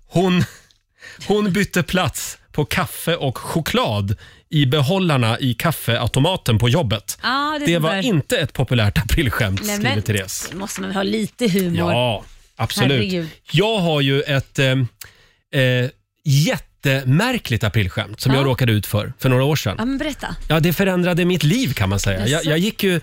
Hon, hon bytte plats på kaffe och choklad i behållarna i kaffeautomaten på jobbet. Ja, det är det sånt var där. inte ett populärt aprilskämt, Nej, Mm, skriver men- Therese. Måste man väl ha lite humor? Ja, absolut. Herregud. Jag har ju ett eh, eh, jättemärkligt aprilskämt som Ja. jag råkade ut för för några år sedan. Ja, men berätta. Ja, det förändrade mitt liv kan man säga. Jag, Jaså? jag gick ju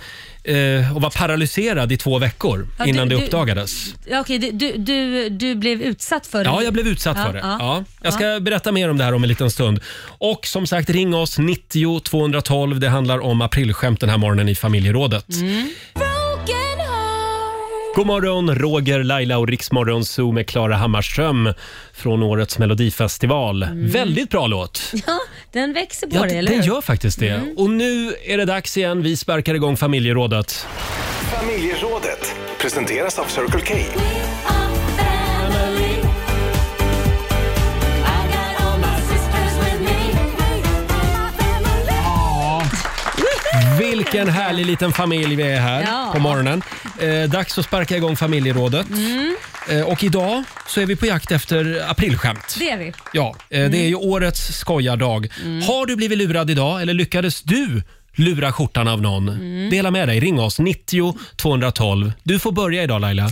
eh, och var paralyserad i två veckor Ja, innan du- det du- uppdagades. Ja, okej, du, du, du, du blev utsatt för det? Ja, jag blev utsatt Ja, för det. ja, Ja. Jag ska berätta mer om det här om en liten stund. Och som sagt, ring oss 90 212. Det handlar om aprilskämt den här morgonen i familjerådet. Mm. God morgon, Roger, Laila och Riksmorgon Zoo med Klara Hammarström från årets Melodifestival. Väldigt bra låt. Ja, den växer på Ja, dig, det, Mm. eller hur? Mm. den gör faktiskt det. Och nu är det dags igen. Vi sparkar igång familjerådet. Familjerådet presenteras av Circle K. Vilken härlig liten familj vi är här Ja. på morgonen. Eh, dags att sparka igång familjerådet. Mm. Eh, och idag så är vi på jakt efter aprilskämt. Det är vi. Ja, eh, det är ju Mm. årets skojardag. Har du blivit lurad idag eller lyckades du lura skjortan av någon? Mm. Dela med dig. Ring oss, 90 212. Du får börja idag Laila.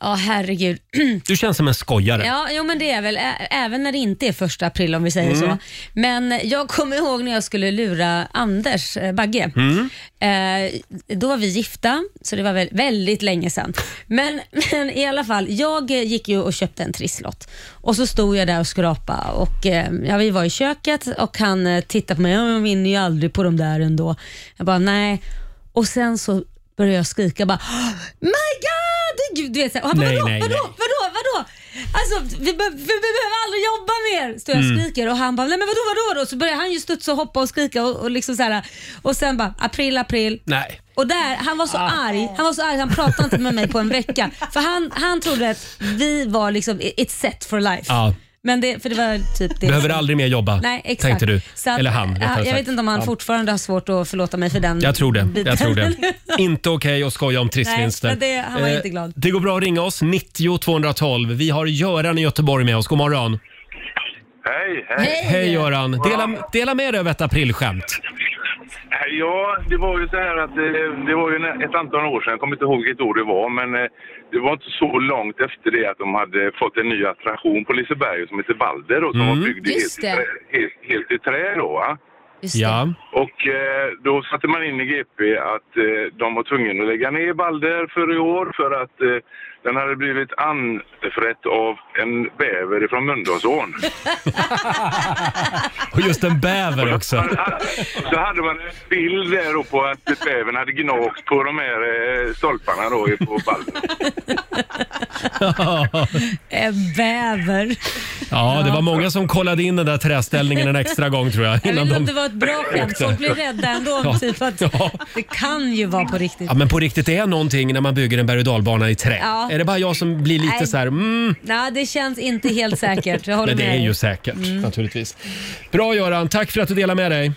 Ja, herregud. Du känns som en skojare. Mm. Ja, jo, men det är väl ä- även när det inte är första april om vi säger Mm. så. Men jag kommer ihåg när jag skulle lura Anders eh, Bagge. Mm. Eh, då var vi gifta, så det var väl väldigt länge sedan. Men, men i alla fall, jag eh, gick ju och köpte en trisslott och så stod jag där och skrapade och eh, ja, vi var i köket och han eh, tittade på mig, "Ja, jag vinner ju aldrig på de där ändå. Jag bara, nej. Och sen så började jag skrika bara, "Oh my god! Gud, Du vet, så här, och han bara, Nej, vadå, nej, vadå, nej. vadå, vadå? Alltså, vi, be- vi behöver aldrig jobba mer, står jag och Mm. skriker och han bara, nej men vadå, vadå då? Så börjar han ju studsa och hoppa och skrika och, och liksom så här. Och sen bara, april, april. Nej. Och där, han var så Ah. arg, han var så arg, han pratade inte med mig på en vecka. För han, han trodde att vi var liksom, it's set for life. Ja. Men det, för det var typ det. Behöver aldrig mer jobba, Nej, exakt. tänkte du. Så att, Eller han, ja, rättare Jag vet sagt. inte om han Ja. fortfarande har svårt att förlåta mig för den Jag tror det. biten. Jag tror det. inte okej att skoja om Nej, trissvinster. men det- han var Eh, inte glad. Det går bra att ringa oss, 90 212. Vi har Göran i Göteborg med oss. God morgon. Hej, Hej Göran. Dela, dela med dig av ett aprilskämt. Nej, ja, det var ju så här att eh, det var ju en- ett antal år sedan, jag kommer inte ihåg vilket år det var, men eh, det var inte så långt efter det att de hade fått en ny attraktion på Liseberg som heter Balder då, som Mm. var byggd i Just helt, i det. trä, helt, helt i trä då. Va? ja. Och eh, då satte man in i GP att eh, de var tvungna att lägga ner Balder för i år för att eh, den hade blivit anfrätt av en bäver från Mölndalsån. Och just en bäver också. Så hade man en bild där då på att bävern hade gnagt på de här eh, stolparna då i- på Balder. En bäver. Ja, det var många som kollade in den där träställningen en extra gång tror jag. Jag vet Innan inte om de... det var ett bra skämt. åkte. Folk blir rädda ändå. Ja. Om typ att Det kan ju vara på riktigt. Ja, men på riktigt, det är någonting när man bygger en berg och dalbana i trä. Ja. Är det bara jag som blir lite Nej. så här, mm. Nej, det känns inte helt säkert. Jag håller Men det med är dig. ju säkert Mm. naturligtvis. Bra Göran, tack för att du delade med dig.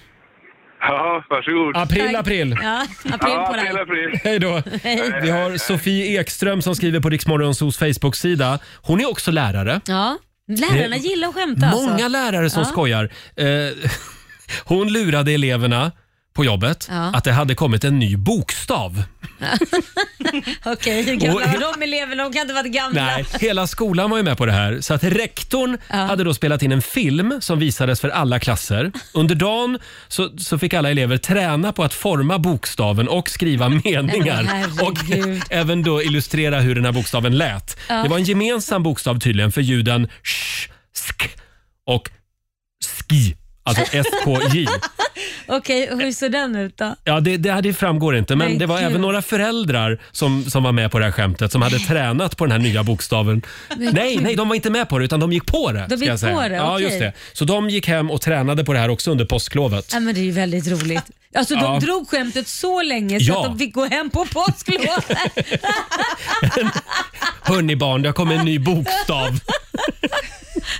Ja, varsågod. April, Tack. april. Ja, april Ja, på dig. april, april. Hej då. Hej. Vi har Sofie Ekström som skriver på Riksmorgonsos Facebook-sida. Hon är också lärare. Ja, lärarna Det- gillar att skämta Många alltså. lärare som ja. skojar. Eh, hon lurade eleverna på jobbet Ja. att det hade kommit en ny bokstav. Okej, hur gamla Och- var de eleverna? De kan inte ha varit gamla. Nej, hela skolan var ju med på det här. Så att rektorn hade då spelat in en film som visades för alla klasser. Under dagen så, så fick alla elever träna på att forma bokstaven och skriva meningar. Åh, och även då illustrera hur den här bokstaven lät. Ja. Det var en gemensam bokstav tydligen för ljuden sh, sk och ski. Alltså SKJ. Okej, och hur såg den ut då? Ja, det, det, det framgår inte, men Men det var gud. även några föräldrar som, som var med på det här skämtet som hade tränat på den här nya bokstaven. Men nej, gud. nej, de var inte med på det utan de gick på det. De ska gick jag säga. på det, ja, okej. just det. Så de gick hem och tränade på det här också under påsklovet. Ja, men det är ju väldigt roligt. Alltså de Ja. drog skämtet så länge så Ja. att de fick gå hem på påsklovet. Hörni barn, det har kommit en ny bokstav.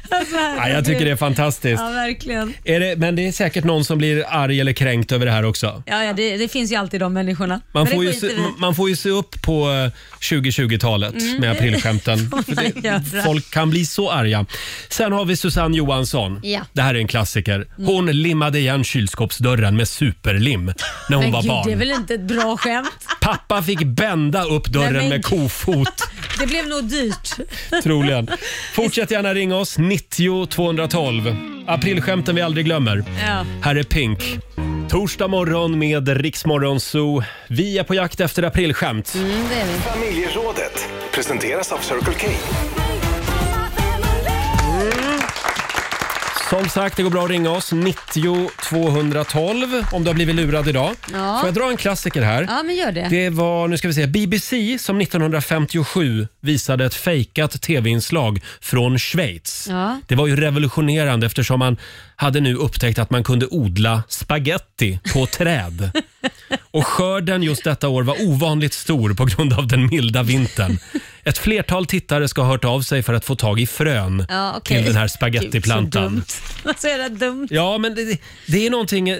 Alltså, Ja, jag tycker det är fantastiskt. Ja, verkligen. Är det, men det är säkert någon som blir arg eller kränkt över det här också. Ja, ja det, det finns ju alltid de människorna. Man Men får, det ju skiter se, vi i. man får ju se upp på eh, 2020-talet Mm. med aprilskämten. Får man göra. Folk kan bli så arga. Sen har vi Susanne Johansson. Ja. Mm. Det här är en klassiker. Hon limmade igen kylskåpsdörren med superlim när hon men var gud, barn. det är väl inte ett bra skämt? Pappa fick bända upp dörren Nej, men med kofot, Det blev nog dyrt. troligen. Fortsätt gärna ringa oss, 90 212. Aprilskämten vi aldrig glömmer. Ja. Här är Pink. Torsdag morgon med Riksmorgon Zoo. Vi är på jakt efter aprilskämt. Familjerådet presenteras av Circle K. Som sagt, det går bra att ringa oss. 90 212 om du har blivit lurad idag. Ja. Får jag dra en klassiker här? Ja, men gör det. Det var, nu ska vi se, BBC som 1957 visade ett fejkat tv-inslag från Schweiz. Ja. Det var ju revolutionerande eftersom man hade nu upptäckt att man kunde odla spaghetti på träd. Och skörden just detta år var ovanligt stor på grund av den milda vintern. Ett flertal tittare ska ha hört av sig för att få tag i frön Ja, okej. till den här Gud, så spagettiplantan. dumt. Så är det dumt. Ja, men det, det är någonting, eh,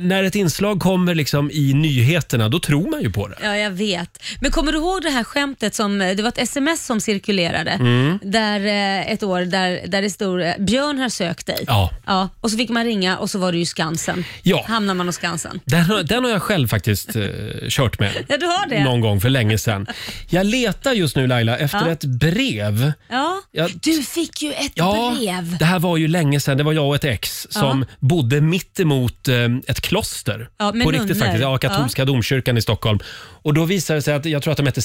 när ett inslag kommer liksom i nyheterna, då tror man ju på det. Ja, jag vet. Men kommer du ihåg det här skämtet som, det var ett sms som cirkulerade Mm. där eh, ett år där, där det stod eh, “Björn har sökt dig”. Ja. Ja, och så fick man ringa och så var det ju Skansen. Ja. Hamnar man hos Skansen. Den har, den har jag själv faktiskt eh, kört med. Ja, du har det. Någon gång för länge sedan. Jag letar just nu Laila efter Ja. ett brev. Ja. Jag, Du fick ju ett ja, brev. det här var ju länge sedan. Det var jag och ett ex Ja. som bodde mitt emot eh, ett kloster. Ja, med på riktigt nunnor. faktiskt. Ja, Ja. katolska domkyrkan i Stockholm. Och då visade det sig att, jag tror att de hette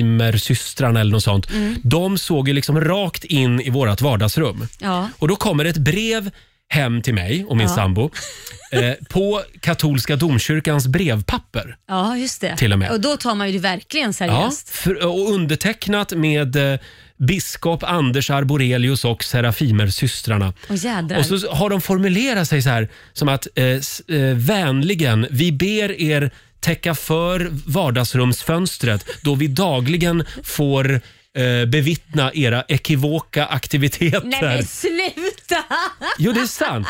Serafimersystrarna eller något sånt. Mm. De såg ju liksom rakt in i vårt vardagsrum. Ja. Och då kommer ett brev hem till mig och min Ja. sambo eh, på katolska domkyrkans brevpapper. Ja, just det. Till och med. Och då tar man ju det verkligen Ja, seriöst. för, och undertecknat med eh, biskop Anders Arborelius och Serafimersystrarna. Åh jädrar. Och så har de formulerat sig så här som att eh, s- eh, vänligen, vi ber er täcka för vardagsrumsfönstret då vi dagligen får eh, bevittna era ekivoka aktiviteter. Nej men sluta! Jo, det är sant.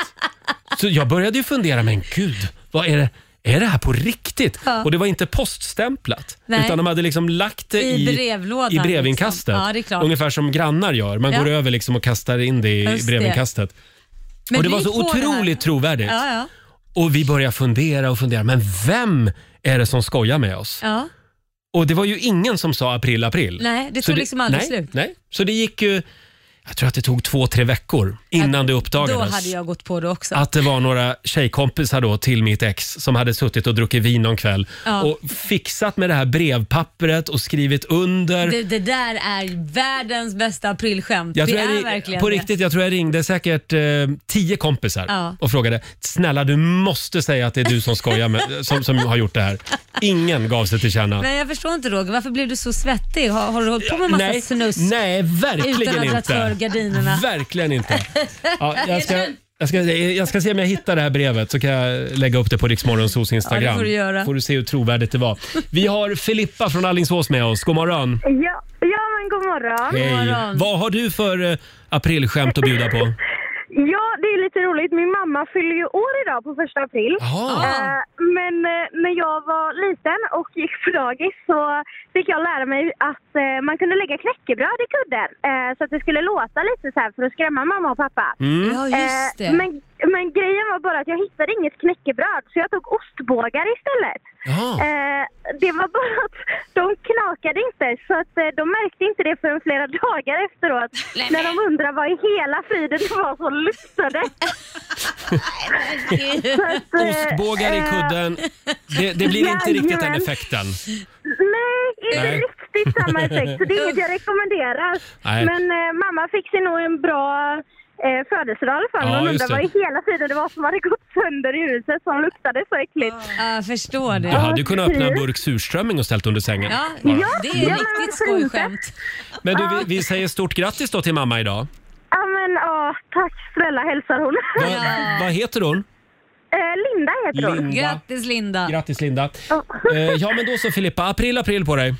Så jag började ju fundera, men gud, vad är det? Är det här på riktigt? Ja. Och det var inte poststämplat. Nej. Utan de hade liksom lagt det I i, brevlådan, i brevinkastet. liksom. Ja, det är klart. Ungefär som grannar gör. Man Ja. går över liksom och kastar in det i Just det. brevinkastet. Men och det du var gick så på det här. otroligt trovärdigt. Ja, ja. Och vi börjar fundera och fundera, men vem är det som skojar med oss? Ja. Och det var ju ingen som sa april, april. Nej, det Så tog liksom aldrig nej, slut. Nej, så det gick ju, jag tror att det tog två, tre veckor innan det Då uppdagades. hade jag gått på det också. Att det var några tjejkompisar då till mitt ex som hade suttit och druckit vin någon kväll Ja. och fixat med det här brevpappret och skrivit under. det, det där är världens bästa aprilskämt. Jag det tror jag är ri- verkligen på det. riktigt, jag tror jag ringde säkert eh, tio kompisar Ja. och frågade “Snälla du måste säga att det är du som skojar med, som, som har gjort det här”. Ingen gav sig till känna. Men jag förstår inte Roger, varför blev du så svettig? Har, har du hållit på med massa Nej, snusk? Nej, verkligen Utan att dra inte. för gardinerna. Verkligen inte. Ja, jag, ska, jag, ska, jag ska se om jag hittar det här brevet så kan jag lägga upp det på Riksmorgonsos Instagram. Ja, det får du göra. får du se hur trovärdigt det var. Vi har Filippa från Alingsås med oss. God morgon. Ja, ja men god morgon. Vad har du för eh, aprilskämt att bjuda på? Ja, det är lite roligt. Min mamma fyller ju år idag på första april. Eh, men eh, när jag var liten och gick på dagis så fick jag lära mig att eh, man kunde lägga knäckebröd i kudden eh, så att det skulle låta lite så här för att skrämma mamma och pappa. Mm. Ja, just Eh, det. men, men grejen var bara att jag hittade inget knäckebröd så jag tog ostbågar istället. Eh, det var bara att de knakade inte så att eh, de märkte inte det förrän flera dagar efteråt när de undrade vad i hela friden det var som luktade. Så att, eh, Ostbågar i eh, kudden. Det, det blir inte riktigt den Jajamän. effekten. Nej, inte Nej. riktigt samma effekt. Så det är inget jag rekommenderar. Nej. Men eh, mamma fick sig nog en bra eh, födelsedag i alla fall. Ja, Hon just undrade vad det. i hela tiden det var som hade gått sönder i huset som luktade så äckligt. Ja, jag förstår Du hade kunnat öppna en burk surströmming och ställt under sängen. Ja, Bara. det är ja, riktigt men varför skojskämt. Men du, vi, vi säger stort grattis då till mamma idag. Ja, men ja, tack snälla hälsar hon. Vad heter hon? Eh, Linda heter hon. Linda. Grattis Linda. Grattis Linda. Eh, ja men då så Filippa, april april på dig.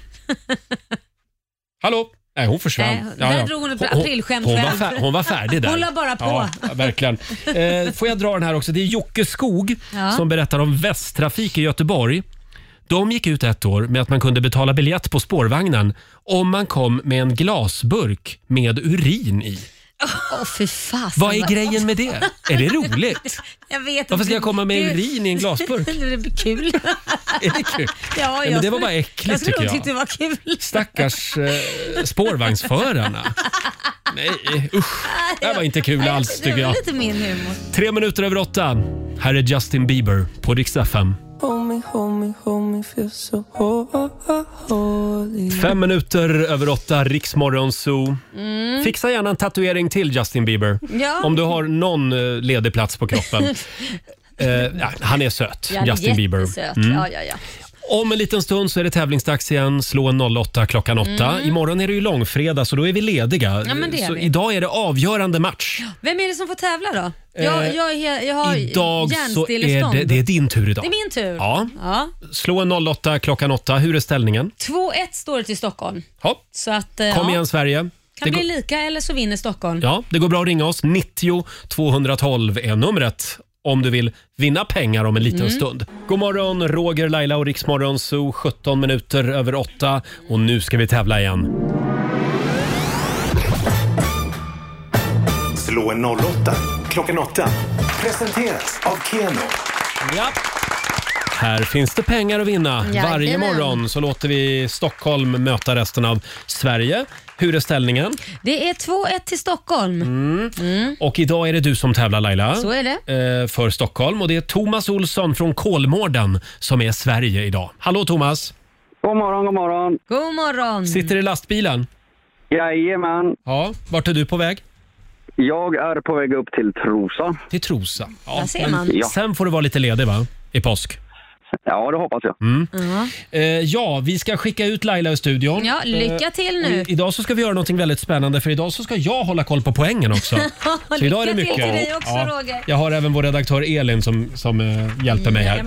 Hallå? Nej hon försvann. Nej, där drog hon ett aprilskämt hon, var själv. fär, hon var färdig där. Hon la bara på. Ja, verkligen. Eh, får jag dra den här också? Det är Jocke Skog Ja. som berättar om Västtrafik i Göteborg. De gick ut ett år med att man kunde betala biljett på spårvagnen om man kom med en glasburk med urin i. Åh fy fasen. Vad är grejen med det? Är det roligt? Jag vet inte. Varför ska jag komma med Det- urin i en glasburk? det blir kul. Är det kul? Ja, Nej, jag men det skulle- var bara äckligt jag. tycker skulle jag. nog tyckt det var kul. Stackars eh, spårvagnsförarna. Nej, usch. Det här var inte kul alls tycker Det var jag. lite min humor. Tre minuter över åtta. Här är Justin Bieber på Rix FM. Homie, homie, homie, feel so holy. Fem minuter över åtta, Riksmorgon Zoo. Mm. Fixa gärna en tatuering till Justin Bieber. Ja. Om du har någon eh, ledig plats på kroppen. Eh, ja, han är söt, Ja, Justin Bieber. jättesöt. Mm. Ja, ja, ja. Om en liten stund så är det tävlingsdags igen. Slå en 08 klockan 8. Mm. Imorgon är det ju långfredag så då är vi lediga. Ja, men det är så vi. idag är det avgörande match. Vem är det som får tävla då? Eh, Jag, jag, är he- jag har Idag så är hjärnstillestånd. det, det är din tur idag. Det är min tur. Ja. Ja. Slå en 08 klockan 8. Hur är ställningen? 2-1 står det till Stockholm. Ja. Så att, eh, Kom ja, igen Sverige. kan bli går- lika eller så vinner Stockholm. Ja, det går bra att ringa oss. 90 212 är numret om du vill vinna pengar om en liten Mm. stund. God morgon, Roger, Laila och Riksmorgon Zoo. 17 minuter över 8 och nu ska vi tävla igen. Slå en 08 klockan 8. Presenteras av Keno. Ja. Här finns det pengar att vinna. Jajamän. Varje morgon så låter vi Stockholm möta resten av Sverige. Hur är ställningen? Det är 2-1 till Stockholm. Mm. Och idag är det du som tävlar Laila. Så är det. Eh, För Stockholm och det är Thomas Olsson från Kolmården som är Sverige idag. Hallå Thomas! God morgon, god morgon. God morgon. Sitter i lastbilen? Jajamän. Ja, vart är du på väg? Jag är på väg upp till Trosa. Till Trosa? Ja, Där ser men man. Ja. Sen får du vara lite ledig va? I påsk? Ja, det hoppas jag. Mm. Eh, ja, vi ska skicka ut Laila i studion. Ja, lycka Eh, till och nu. i- Idag så ska vi göra något väldigt spännande för idag så ska jag hålla koll på poängen också. så idag är det Lycka till mycket. till dig också, Roger. Jag har även vår redaktör Elin som, som eh, hjälper mig här.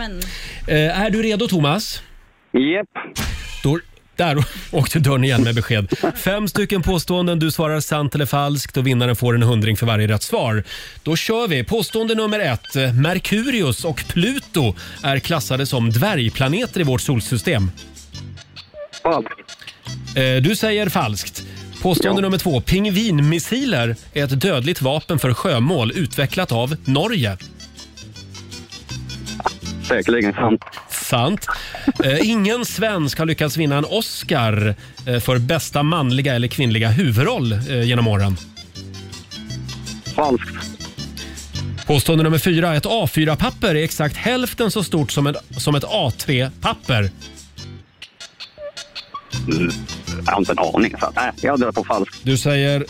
Eh, är du redo Thomas? Japp. Då, där åkte dörren igen med besked. Fem stycken påståenden, du svarar sant eller falskt och vinnaren får en hundring för varje rätt svar. Då kör vi. Påstående nummer ett. Eh, Merkurius och Pluto är klassade som dvärgplaneter i vårt solsystem. Eh, Falskt. Du säger falskt. Påstående nummer två. Pingvinmissiler är ett dödligt vapen för sjömål utvecklat av Norge. säkerligen sant. Sant. Eh, ingen svensk har lyckats vinna en Oscar eh, för bästa manliga eller kvinnliga huvudroll eh, genom åren. Falskt. Mm. Påstående nummer fyra. Ett A4-papper är exakt hälften så stort som ett, som ett A3-papper. Mm. Jag har inte en aning. Så. Nej, jag drar på falskt. Du säger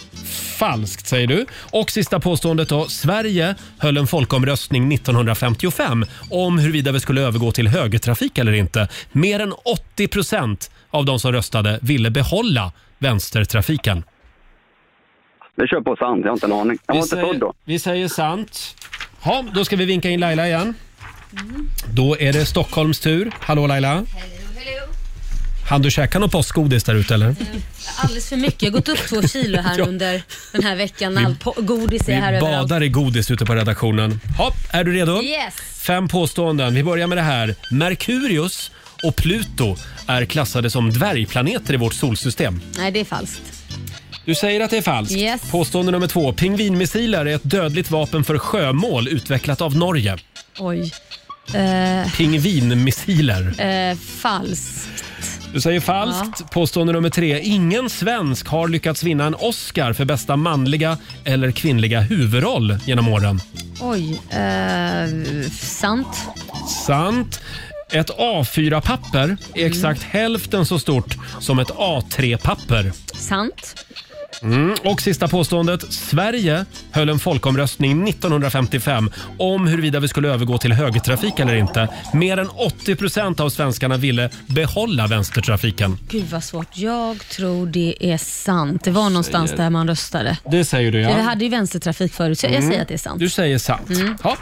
falskt, säger du. Och sista påståendet då. Sverige höll en folkomröstning 1955 om huruvida vi skulle övergå till högertrafik eller inte. Mer än 80 procent av de som röstade ville behålla vänstertrafiken. Det kör på sant. Jag har inte en aning. Jag Vi var inte säger- född då. Vi säger sant. Ja, då ska vi vinka in Laila igen. Då är det Stockholms tur. Hallå Laila. Hann du käka något påskgodis där ute eller? Alldeles för mycket. Jag har gått upp två kilo här Ja. under den här veckan. Vi- All po- godis är här Vi överallt. badar i godis ute på redaktionen. Hopp, är du redo? Yes. Fem påståenden. Vi börjar med det här. Merkurius och Pluto är klassade som dvärgplaneter i vårt solsystem. Nej, det är falskt. Du säger att det är falskt. Yes. Påstående nummer två. Pingvinmissiler är ett dödligt vapen för sjömål utvecklat av Norge. Oj. Eh, Pingvinmissiler. eh, falskt. Du säger falskt. Påstående nummer tre. Ingen svensk har lyckats vinna en Oscar för bästa manliga eller kvinnliga huvudroll genom åren. Oj. Eh, sant. Sant. Ett A4-papper är exakt hälften så stort som ett A3-papper. Sant. Mm. Och sista påståendet. Sverige höll en folkomröstning 1955 om huruvida vi skulle övergå till högertrafik eller inte. Mer än 80 procent av svenskarna ville behålla vänstertrafiken. Gud vad svårt. Jag tror det är sant. Det var någonstans Säger- där man röstade. Det säger du, ja. Vi hade ju vänstertrafik förut, så jag Mm. säger att det är sant. Mm. Du säger sant. Ja.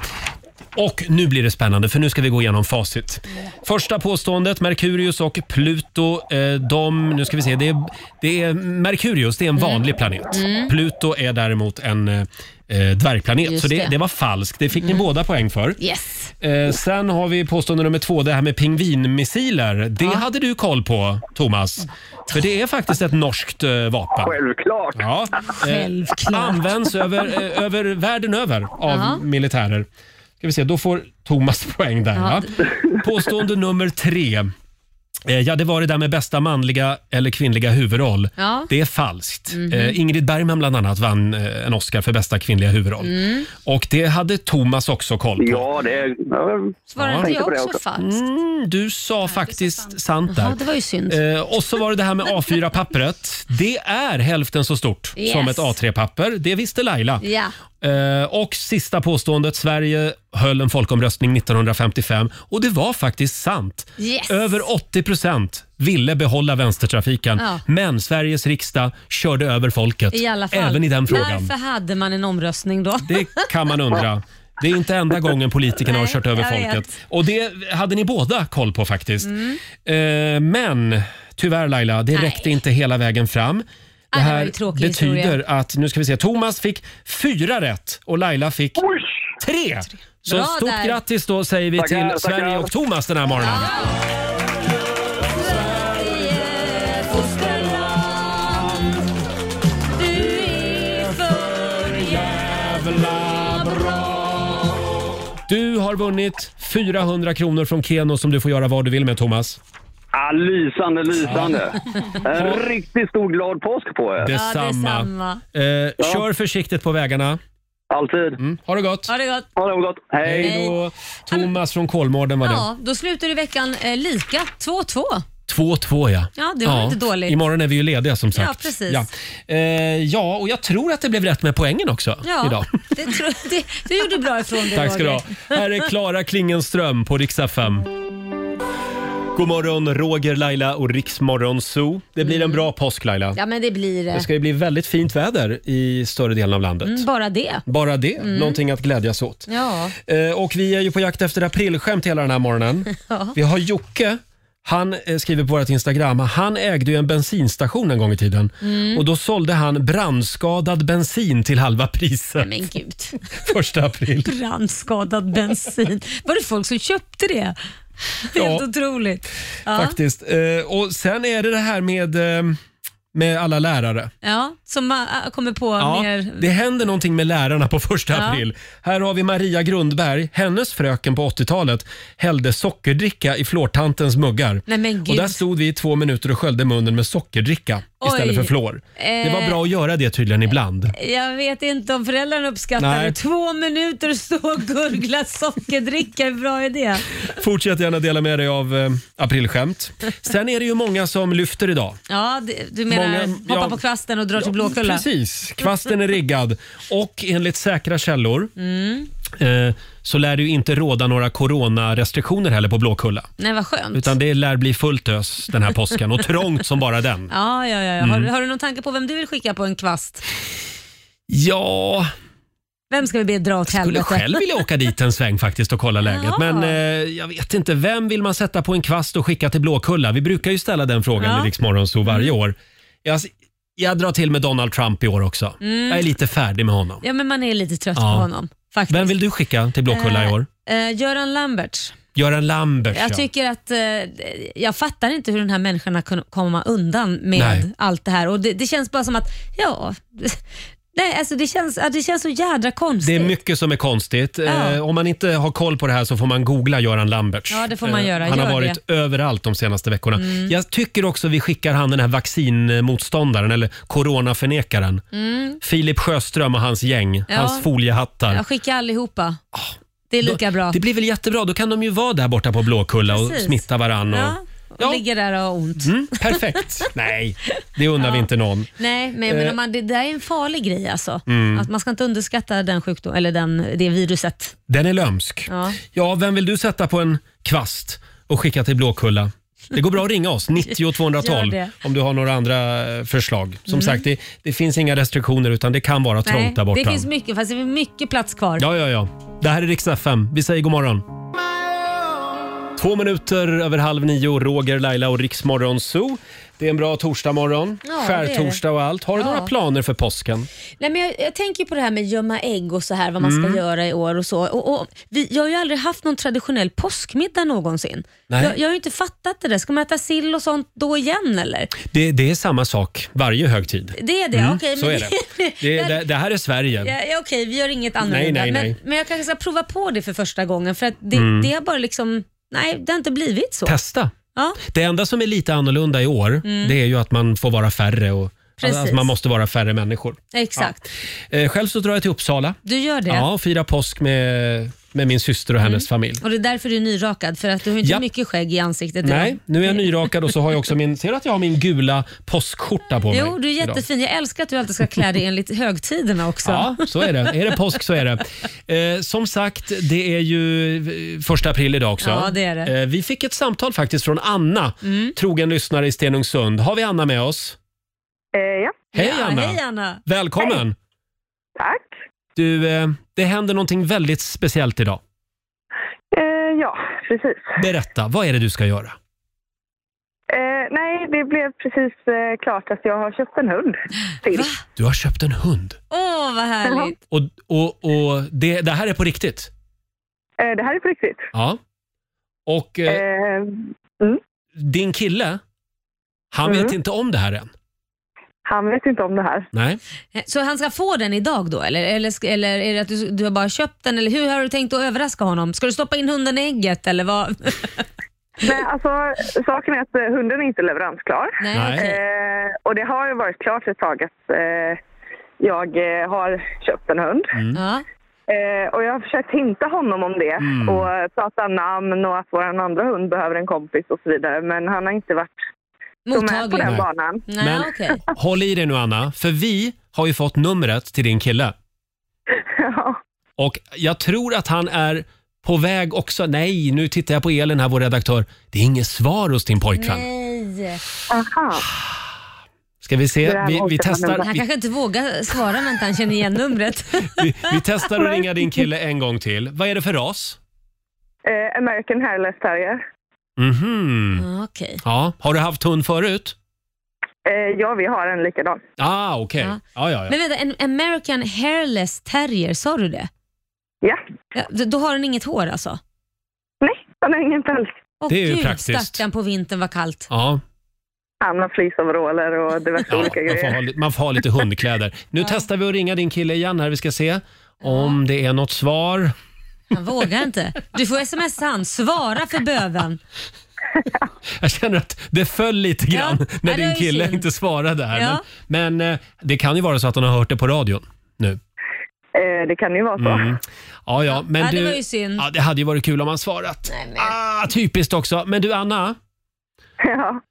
Och nu blir det spännande för nu ska vi gå igenom facit. Första påståendet, Merkurius och Pluto, eh, de, nu ska vi se, det är, det är Merkurius, det är en vanlig planet. Mm. Pluto är däremot en eh, eh, dvärgplanet, Just så det, det. det. var falskt. Det Mm. fick ni båda poäng för. Yes. Eh, sen har vi påstående nummer två, det här med pingvinmissiler. Det hade du koll på, Thomas. För det är faktiskt ett norskt eh, vapen. Självklart. Ja. Självklart. Används över, eh, över världen över av Ja. militärer. Ska vi se, då får Thomas poäng där. Ja. Ja. Påstående nummer tre. Eh, Ja, det var det där med bästa manliga eller kvinnliga huvudroll. Ja. Det är falskt. Mhm. Eh, Ingrid Bergman bland annat vann eh, en Oscar för bästa kvinnliga huvudroll. Mm. Och det hade Thomas också koll på. Ja, det är... Jag Ja. Svarade jag också falskt? Mm, du sa faktiskt sant, där. Ja, det var ju synd. Eh, och så var det det här med A4-pappret. Det är hälften så stort Yes. som ett A3-papper. Det visste Laila. Ja. Eh, och sista påståendet. Sverige höll en folkomröstning 1955 och det var faktiskt sant. Yes. Över 80 procent ville behålla vänstertrafiken, Ja. men Sveriges riksdag körde över folket. I alla fall. Även i den frågan. Varför hade man en omröstning då? Det kan man undra. Det är inte enda gången politikerna har Nej, kört över jag vet. Mm. folket. Och det hade ni båda koll på faktiskt. Eh, men tyvärr Laila, det räckte inte hela vägen fram. Det Nej, det var här ju tråkig betyder historia. att, nu ska vi se, Thomas fick fyra rätt och Laila fick tre. Så Bra stort där. grattis då säger vi Tackar, till tackar. Sverige och Thomas den här morgonen. Du har vunnit 400 kronor från Keno som du får göra vad du vill med Thomas. Ah, lysande, lysande. En riktigt stor glad påsk på er. Eh, Kör försiktigt på vägarna. Alltid. Mm. Ha det gott. Ha det gott. Ha det gott. Hej. då. Thomas från Kolmården var det. Ja, då slutar du veckan eh, lika. 2-2. 2-2 ja. Ja, det var inte dåligt. Imorgon är vi ju lediga som sagt. Ja, precis. Ja. Eh, ja, och jag tror att det blev rätt med poängen också Ja, idag. Det tror, det, du gjorde bra ifrån dig Tack ska du ha. Roger. Här är Klara Klingenström på Rix FM. God morgon, Roger, Laila och Riksmorgon Zoo. Det blir en bra påsk Laila. Mm. Ja, men det blir Det det. ska ju bli väldigt fint väder i större delen av landet. Mm, bara det. Bara det, Mm. någonting att glädjas åt. Ja. Eh, Och vi är ju på jakt efter aprilskämt hela den här morgonen. Ja. Vi har Jocke. Han eh, skriver på vårt Instagram, han ägde ju en bensinstation en gång i tiden. Mm. Och då sålde han brandskadad bensin till halva priset. Men gud. Första april. Brandskadad bensin. Var det folk som köpte det? Ja. Helt otroligt. Ja. Faktiskt. Eh, Och sen är det det här med eh, med alla lärare. Ja, som man äh, kommer på Ja, mer... det händer någonting med lärarna på första Ja. april. Här har vi Maria Grundberg. Hennes fröken på 80-talet hällde sockerdricka i flortantens muggar. Nej men Och gud. där stod vi i två minuter och sköljde munnen med sockerdricka istället Oj. för flor. Det var Eh. bra att göra det tydligen ibland. Jag vet inte om föräldrarna uppskattar Nej. det. Två minuter stå och gurgla sockerdricka, hur bra är det? Fortsätt gärna dela med dig av eh, aprilskämt. Sen är det ju många som lyfter idag. Ja, det, du menar Många- hoppa ja. på kvasten och dra till Blåkulla? Precis, kvasten är riggad. Och enligt säkra källor Mm. eh, så lär det ju inte råda några coronarestriktioner heller på Blåkulla. Nej, vad skönt. Utan det lär bli fullt ös den här påsken och trångt som bara den. Ja, ja, ja. ja. Har, Mm. du- har du någon tanke på vem du vill skicka på en kvast? Ja, Vem ska vi be dra åt skulle helvete? själv vilja åka dit en sväng faktiskt och kolla läget. Ja. Men eh, jag vet inte, vem vill man sätta på en kvast och skicka till Blåkulla? Vi brukar ju ställa den frågan Ja. Mm. i Rix Morgon så varje år. Jag, jag drar till med Donald Trump i år också. Mm. Jag är lite färdig med honom. Ja, men man är lite trött Ja. på honom. Faktiskt. Vem vill du skicka till Blåkulla i år? Eh, Göran Lambert. Göran Lambert Jag ja. tycker att eh, jag fattar inte hur den här människan har kunnat komma undan med Nej. allt det här. Och det, det känns bara som att, ja, nej, alltså det, känns, att det känns så jädra konstigt. Det är mycket som är konstigt. Eh, om man inte har koll på det här så får man googla Göran Lamberts. Ja, det får man Eh, göra. Han har Gör varit överallt de senaste veckorna. Mm. Jag tycker också vi skickar han den här vaccinmotståndaren eller coronaförnekaren. Mm. Filip Sjöström och hans gäng, Ja. hans foliehattar. Jag skickar allihopa. Det är lika bra. Ah. Det blir väl jättebra, då kan de ju vara där borta på Blåkulla och Precis. smitta varann. Och... Ja, och ligger där och har ont. Mm, perfekt. Nej, det undrar vi inte någon. Nej, men jag Eh. menar, man, det där är en farlig grej alltså. Mm. Att man ska inte underskatta den sjukdomen, eller den, det viruset. Den är lömsk. Ja. Ja, vem vill du sätta på en kvast och skicka till Blåkulla? Det går bra att ringa oss, 90 Gör 212, det. om du har några andra eh, förslag. Som Mm. sagt, det, det finns inga restriktioner utan det kan vara trångt där borta. det finns mycket, fast det är mycket plats kvar. Ja, ja, ja. Det här är riksdag 5. Vi säger god morgon. Två minuter över halv nio, Roger, Laila och Riksmorgon Zoo. Det är en bra torsdagmorgon, Ja, det är det. skärtorsdag och allt. Har du Ja. några planer för påsken? Nej, men jag, jag tänker på det här med gömma ägg och så här, vad man Mm. ska göra i år och så. Och, och, vi, jag har ju aldrig haft någon traditionell påskmiddag någonsin. Nej. Jag, jag har ju inte fattat det där. Ska man äta sill och sånt då igen eller? Det, det är samma sak varje högtid. Det är det, Mm, okej. så men är det. Det, det, det här är Sverige. Ja, ja, okej, vi gör inget annorlunda. nej, nej. Men, men jag kanske ska prova på det för första gången för att det, Mm. det har bara liksom, nej det har inte blivit så. Testa. Ja. Det enda som är lite annorlunda i år Mm. det är ju att man får vara färre och Precis. att man måste vara färre människor. Exakt. Ja. Eh, Själv så drar jag till Uppsala Du gör det. Mm. ja, och firar påsk med, med min syster och hennes familj. Och det är därför du är nyrakad, för att du har inte Japp. mycket skägg i ansiktet Nej, idag. nu är jag nyrakad och så har jag också min, ser du att jag har min gula påskskjorta på mig? Jo, du är idag? jättefin. Jag älskar att du alltid ska klä dig enligt högtiderna också. Ja, så är det. Är det påsk så är det. Eh, som sagt, det är ju eh, första april idag också. Ja, det är det. Mm. Eh, vi fick ett samtal faktiskt från Anna, trogen lyssnare i Stenungsund. Har vi Anna med oss? ja. Hej ja, Anna! Hej Anna! Välkommen! Tack. Du, eh, det händer någonting väldigt speciellt idag. Eh, ja, precis. Berätta, vad är det du ska göra? Eh, nej, det blev precis eh, klart att jag har köpt en hund till. Du har köpt en hund. Åh, vad härligt! Och, och, och det, det här är på riktigt? Eh, det här är på riktigt. Ja. Och eh, din kille, han Mm. vet inte om det här än? Han vet inte om det här. Nej. Eh, Så han ska få den idag då, eller, eller, ska- eller är det att du, du har bara köpt den? Eller hur har du tänkt att överraska honom? Ska du stoppa in hunden i ägget, eller vad? Nej, alltså, saken är att eh, hunden är inte leveransklar. Nej, Nej. okej. Eh, och det har ju varit klart ett tag att eh, jag eh, har köpt en hund. Eh, och jag har försökt hinta honom om det Mm. och eh, prata namn och att vår andra hund behöver en kompis och så vidare. Men han har inte varit så med på den Nej. banan. Men håll i dig nu Anna, för vi har ju fått numret till din kille. Och jag tror att han är på väg också. Nej, nu tittar jag på Elin här, vår redaktör. Det är inget svar hos din pojkvän. Nej. Aha. Ska vi se? Vi, vi, testar, Han vi, kanske inte vågar svara när inte han känner igen numret. vi, vi testar att ringa din kille en gång till. Vad är det för ras? Eh, American hairless terrier. Mhm. Ah, Okej. Ja, har du haft hund förut? Eh, ja, vi har en likadan. Ah, okej. Ja. Ja, ja, ja. Men vänta, en American hairless terrier, sa du det? Ja. då, då har den inget hår alltså? Nej, den har ingen päls. Åh Det är ju gud, praktiskt. stackarn på vintern, vad kallt. Ja. Hamna fleeceoveraller och diverse Ja, olika man, får ha, grejer. li- man får ha lite hundkläder. Nu testar vi att ringa din kille igen här. Vi ska se om det är något svar. Han vågar inte. Du får smsa han. Svara för böven. Jag känner att det föll lite grann när Ja, det är din ju kille synd. inte svarade här. Ja. Men, men eh, det kan ju vara så att hon har hört det på radion nu. Eh, det kan ju vara så. Mm. Ja, ja, men Ja, det du, var ju synd. Ja, det hade ju varit kul om han svarat. Ah, typiskt också. Men du Anna, Ja.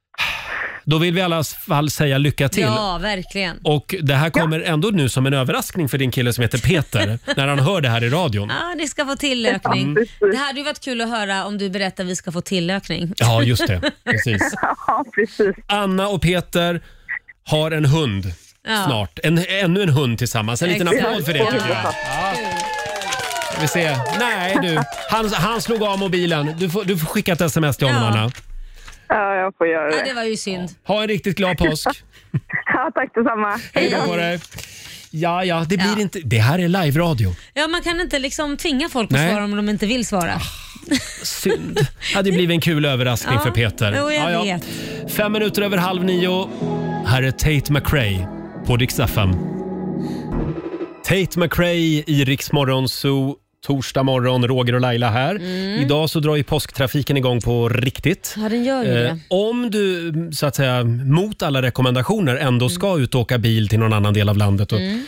då vill vi i alla fall säga lycka till. Ja, verkligen. Och det här kommer ändå nu som en överraskning för din kille som heter Peter när han hör det här i radion. Ja, ni ska få tillökning. Det hade ju varit kul att höra om du berättar att vi ska få tillökning. Ja, just det. Precis. Anna och Peter har en hund Ja. snart. En, ännu en hund tillsammans. En liten Exakt. applåd för det tycker jag. Vi ser. Nej du, han, han slog av mobilen. Du får, du får skicka ett sms till honom Ja. Anna. Ja, jag får göra Ja, det. det var ju synd. Ha en riktigt glad påsk. Ja, tack detsamma. Hej då på dig. Ja, ja, det blir inte... Det här är live-radio. Ja, man kan inte liksom tvinga folk att Nej. svara om de inte vill svara. Synd. Det hade ju blivit en kul överraskning Ja, för Peter. jo, jag vet. Fem minuter över halv nio. Här är Tate McRae på Dix FM. Tate McRae i Rix Morgon Zoo. Torsdag morgon, Roger och Laila här. Mm. Idag så drar ju påsktrafiken igång på riktigt. Ja, den gör ju Eh, det. om du, så att säga, mot alla rekommendationer ändå ska ut och åka bil till någon annan del av landet och Mm.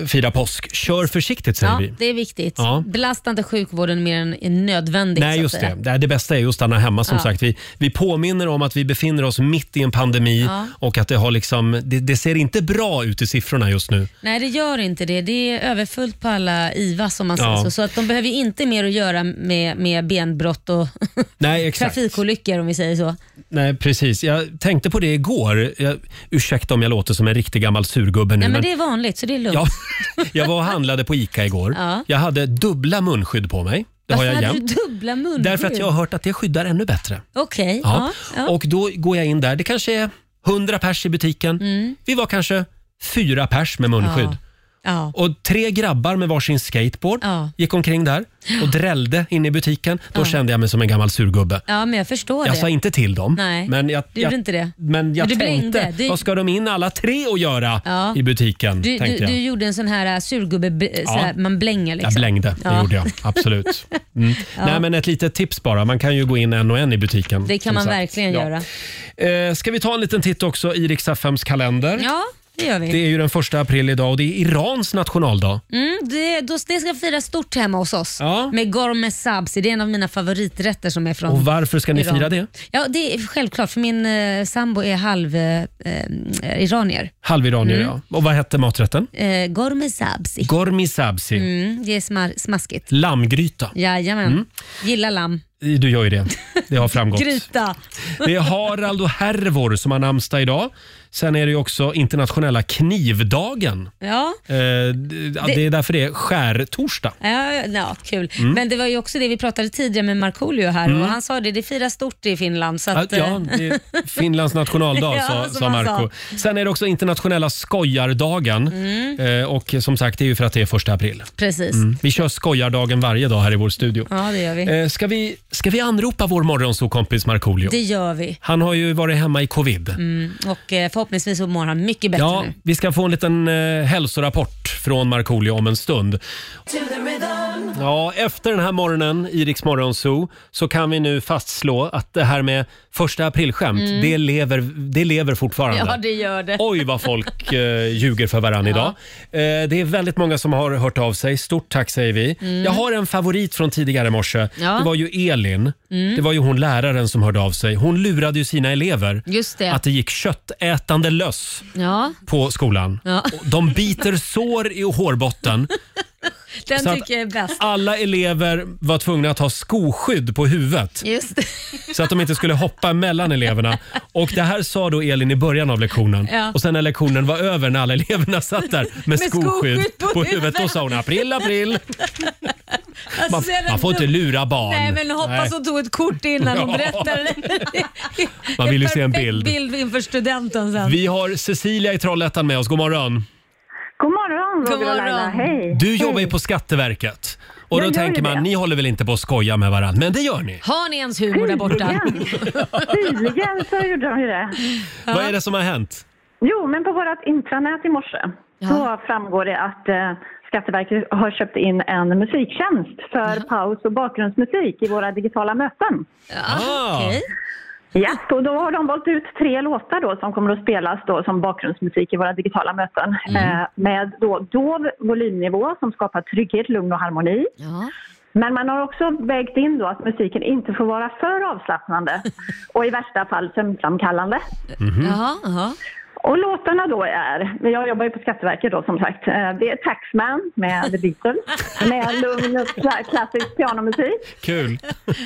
eh, fira påsk, kör försiktigt säger Ja, vi. det är viktigt. Ja. Belasta inte sjukvården mer än är nödvändigt. Nej, så att just det. säga. det. Det bästa är ju att stanna hemma som Ja. sagt. Vi, vi påminner om att vi befinner oss mitt i en pandemi Ja. och att det har liksom, det, det ser inte bra ut i siffrorna just nu. Nej, det gör inte det. Det är överfullt på alla IVA som man Ja. säger så. Så att de behöver ju inte mer att göra med, med benbrott och Nej, exakt. trafikolyckor om vi säger så. Nej, precis. Jag tänkte på det igår. Jag, ursäkta om jag låter som en riktig gammal surgubbe nu. Nej, men men- det är vanligt så det är lugnt. Ja, jag var och handlade på ICA igår. Ja. Jag hade dubbla munskydd på mig. Det har Varför jag hade jämt. du dubbla munskydd? Därför att jag har hört att det skyddar ännu bättre. Okej, Ja. ja. ja. Och då går jag in där. Det kanske är 100 pers i butiken. Vi var kanske fyra pers med munskydd. Mm. Ja. Ja. Och tre grabbar med varsin skateboard gick omkring där och drällde in i butiken. Då kände jag mig som en gammal surgubbe. ja, men jag förstår Jag det. sa inte till dem. Nej, men jag, du gjorde jag, inte det. Men jag Men du tänkte, blängde. Du- vad ska de in alla tre och göra Ja. i butiken? Du, tänkte jag. du, du gjorde en sån här äh, surgubbe, bl- så här, man blänger liksom. Jag blängde, det Ja. gjorde jag. Absolut. Mm. Ja. Nej, men ett litet tips bara. Man kan ju gå in en och en i butiken. Det kan som man sagt. verkligen Ja. göra. Eh, ska vi ta en liten titt också i Riks-FMs kalender? Ja, det gör vi. Det är ju den första april idag och det är Irans nationaldag. Mm, det, då, det ska firas stort hemma hos oss Ja. med gourmet sabzi. Det är en av mina favoriträtter som är från Och varför ska ni Iran. fira det? Ja, det är självklart för min eh, sambo är halv eh, eh, iranier. Halviranier, Mm. ja. Och vad hette maträtten? Eh, gourmet sabzi. Gormi sabzi. Mm, det är smar- smaskigt. Lammgryta. Jajamän. Mm. Gillar lamm. Du gör ju det. Det har framgått. Gryta. Det är Harald och Hervor som har namnsdag idag. Sen är det ju också internationella knivdagen. Ja. Eh, d- ja, det är därför det är skärtorsdag. Ja, ja, ja, kul. Mm. Men det var ju också det vi pratade tidigare med Markoolio här Mm. och han sa det, det firas stort i Finland. Så Ja, att, eh, ja, det är Finlands nationaldag, Ja, sa, som sa han Marco. Sen är det också internationella skojardagen. Mm. Eh, och som sagt, det är ju för att det är första april. Precis. Mm. Vi kör skojardagen varje dag här i vår studio. Ja, det gör vi. Eh, ska, vi ska vi anropa vår morgonsokompis Markoolio? Det gör vi. Han har ju varit hemma i covid. Mm, och eh, förhoppningsvis så mår han mycket bättre Ja, nu. vi ska få en liten eh, hälsorapport från Markoolio om en stund. Ja, efter den här morgonen i Rix Morgon Zoo så kan vi nu fastslå att det här med första aprilskämt, Mm. det, lever, det lever fortfarande. Ja, det gör det. Oj vad folk eh, ljuger för varandra idag. Eh, det är väldigt många som har hört av sig. Stort tack säger vi. Mm. Jag har en favorit från tidigare i morse. Ja. Det var ju Elin. Mm. Det var ju hon läraren som hörde av sig. Hon lurade ju sina elever Just det. att det gick köttätande löss Ja. på skolan. Ja. Och De biter sår i hårbotten. Den Så att- tycker jag är bäst. Alla elever var tvungna att ha skoskydd på huvudet Just det. så att de inte skulle hoppa mellan eleverna. Och Det här sa då Elin i början av lektionen. Ja. Och Sen när lektionen var över, när alla eleverna satt där med, Med skoskydd, skoskydd på, på huvudet, då sa hon april, april. Alltså, Man, ser den man får inte dum- lura barn. Nej, men hoppas Nej. hon tog ett kort innan hon Ja. berättade det. Man vill ju se en perfekt bild. bild inför studenten sen. Vi har Cecilia i Trollhättan med oss. God morgon. God morgon, God Roger och Laila. morgon. Hej. Du jobbar ju på Skatteverket. Och då Jag gör tänker man, det. ni håller väl inte på att skoja med varandra? Men det gör ni. Har ni ens humor där borta? Tydligen så gjorde de ju det. Vad är det som har hänt? Jo, men på vårt intranät i morse så framgår det att eh, Skatteverket har köpt in en musiktjänst för paus och bakgrundsmusik i våra digitala möten. Ah. okej. Ja, och då har de valt ut tre låtar då som kommer att spelas då som bakgrundsmusik i våra digitala möten. Eh, med då dov volymnivå som skapar trygghet, lugn och harmoni. Men man har också vägt in då att musiken inte får vara för avslappnande och i värsta fall sömnframkallande. Mm-hmm. Mm. Och låtarna då är, men jag jobbar ju på Skatteverket då som sagt, Eh, det är Taxman med The Beatles med lugn och kla- klassisk pianomusik. Kul.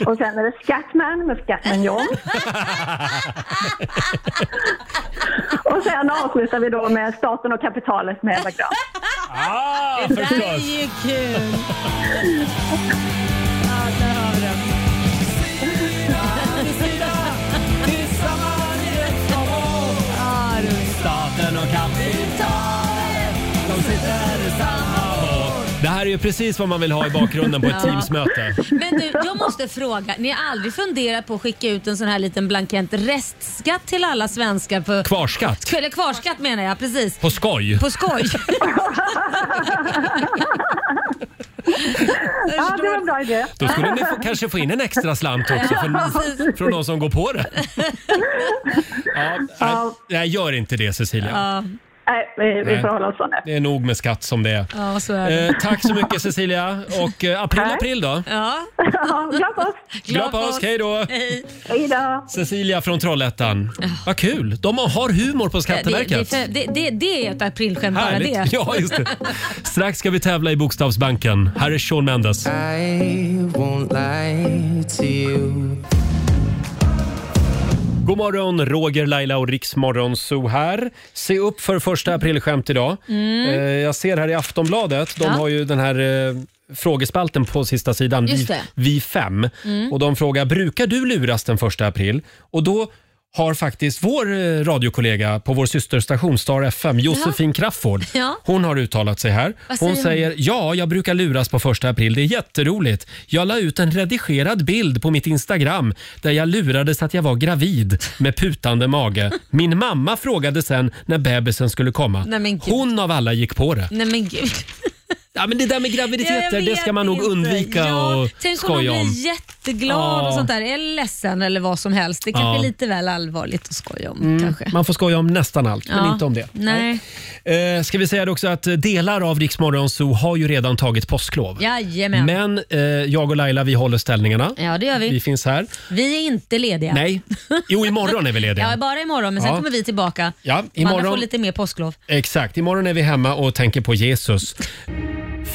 Och sen är det Scatman med Scatman John. och sen avslutar vi då med Staten och kapitalet med Ebba Grön. Ah, det där är ju kul! Ja, där har vi den. Ja, roligt. Staten och kapitalet, de sitter i samma båt. Det här är ju precis vad man vill ha i bakgrunden på ett Ja. Teamsmöte. Men du, jag måste fråga. Ni har aldrig funderat på att skicka ut en sån här liten blankett restskatt till alla svenskar? På, Kvarskatt. Eller kvarskatt menar jag, precis. På skoj. På skoj. Ja, det var en bra idé. Då skulle ni få, kanske få in en extra slant också Ja, från, precis. från någon som går på det. Ja, nej, nej, gör inte det Cecilia. Ja, Nej, vi, vi Nej. får hålla oss sådana. Det är nog med skatt som det är. ja, så är det. Eh, tack så mycket Cecilia och eh, april Tack. april då. Ja. Glad påsk! Glad påsk, hej då! Hej då! Cecilia från Trollhättan. Vad kul! De har humor på Skatteverket. Det, det, det, det är ett aprilskämt bara Härligt. det. Ja, just det. Strax ska vi tävla i Bokstavsbanken. Här är Shawn Mendes. God morgon, Roger, Laila och Riksmorgon Zoo här. Se upp för första aprilskämt idag. Mm. Eh, Jag ser här i Aftonbladet, de Ja. har ju den här eh, frågespalten på sista sidan, Just vi, det. vi fem. Mm. Och de frågar, brukar du luras den första april? Och då har faktiskt vår eh, radiokollega på vår systerstation Star FM, Josefin Crafoord, Ja. hon har uttalat sig här. Vad säger Hon hon? säger, ja, jag brukar luras på första april. Det är jätteroligt. Jag la ut en redigerad bild på mitt Instagram där jag lurades att jag var gravid med putande mage. Min mamma frågade sen när bebisen skulle komma. Nej, men gud. Hon av alla gick på det. Nej men gud. Ja, men det där med Ja, graviditeter, jag det vet ska man nog inte. undvika ja, och Tänk om man skoja om. blir jätteglad Ja. och sånt där, eller ledsen eller vad som helst. Det kanske Ja. är lite väl allvarligt att skoja om Mm, kanske. Man får skoja om nästan allt, men Ja. inte om det. Nej. Eh, ska vi säga det också att eh, delar av Riksmorgon Zoo har ju redan tagit påsklov. Jajamän. Men eh, jag och Laila vi håller ställningarna. Ja, det gör vi. Vi finns här. Vi är inte lediga. Nej, jo imorgon är vi lediga. Ja, bara imorgon, men sen Ja. kommer vi tillbaka. Ja, Man får imorgon, lite mer påsklov. exakt, imorgon är vi hemma och tänker på Jesus.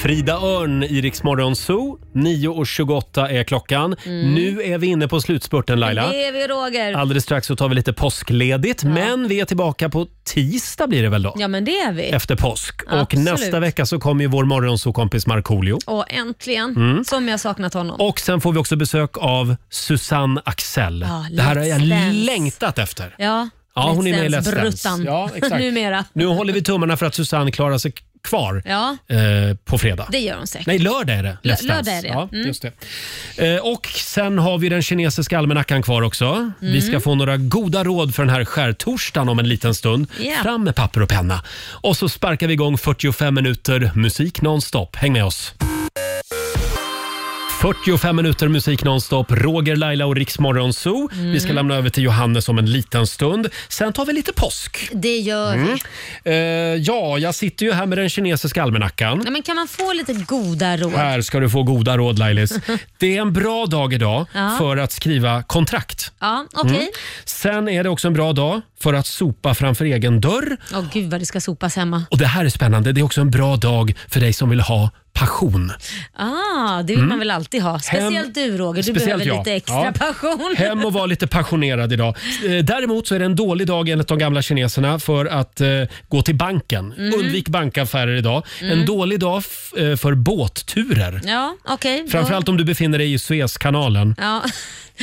Frida Örn i Riksmorgon Zoo. 9.28 är klockan. Mm. Nu är vi inne på slutspurten Laila. Det är vi Roger. Alldeles strax så tar vi lite påskledigt, men vi är tillbaka på tisdag blir det väl då? Ja, men det är vi. Efter påsk. Och Absolut. nästa vecka så kommer ju vår morgonsokompis Markoolio. Och äntligen, Mm. som jag saknat honom. Och sen får vi också besök av Susanne Axel. Ja, det här har jag Let's Dance. längtat efter. Ja, Ja, hon är med i Let's Dance. Bruttan. Ja, exakt. Numera. Nu håller vi tummarna för att Susanne klarar sig kvar Ja, eh, på fredag. det gör hon säkert. Nej, lördag är det. Lö- Let's Dance. lördag är det, ja. Ja, Mm. just det. Eh, och sen har vi den kinesiska almanackan kvar också. Vi Mm. ska få några goda råd för den här skärtorsdagen om en liten stund. Ja. Fram med papper och penna. Och så sparkar vi igång 45 minuter musik nonstop. Häng med oss. 45 minuter musik nonstop, Roger, Laila och Riksmorgon Zoo. Mm. Vi ska lämna över till Johannes om en liten stund. Sen tar vi lite påsk. Det gör Mm. vi. Eh, ja, jag sitter ju här med den kinesiska almanackan. Nej, men kan man få lite goda råd? Här ska du få goda råd Lailis. Det är en bra dag idag Ja. för att skriva kontrakt. Ja, okej. Mm. Sen är det också en bra dag för att sopa framför egen dörr. Åh gud vad det ska sopas hemma. Och det här är spännande. Det är också en bra dag för dig som vill ha passion. Ah, det vill Mm. man väl alltid ha? Speciellt du Roger, du Speciellt behöver jag. lite extra Ja. passion. Hem och var lite passionerad idag. Eh, Däremot så är det en dålig dag enligt de gamla kineserna för att eh, gå till banken. Mm. Undvik bankaffärer idag. En Mm. dålig dag f- eh, för båtturer. Ja, okej. Då- Framförallt om du befinner dig i Suezkanalen. Ja,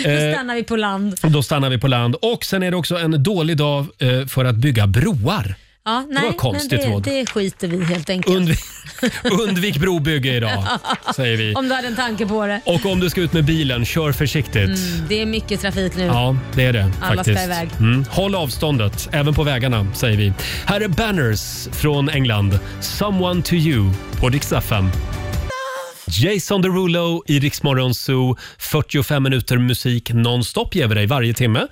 då Eh. stannar vi på land. Då stannar vi på land. Och sen är det också en dålig dag eh, för att bygga broar. Ja, nej, var konstigt men råd. det, det skiter vi helt enkelt. Undvik, undvik brobygge idag, säger vi. Om du hade en tanke på det. Och om du ska ut med bilen, kör försiktigt. Mm, det är mycket trafik nu. Ja, det är det Alla faktiskt. ska iväg. Mm. Håll avståndet, även på vägarna, säger vi. Här är Banners från England. Someone to you på Dix FM. Jason Derulo i Rix Morgon Zoo. 45 minuter musik nonstop ger vi dig varje timme.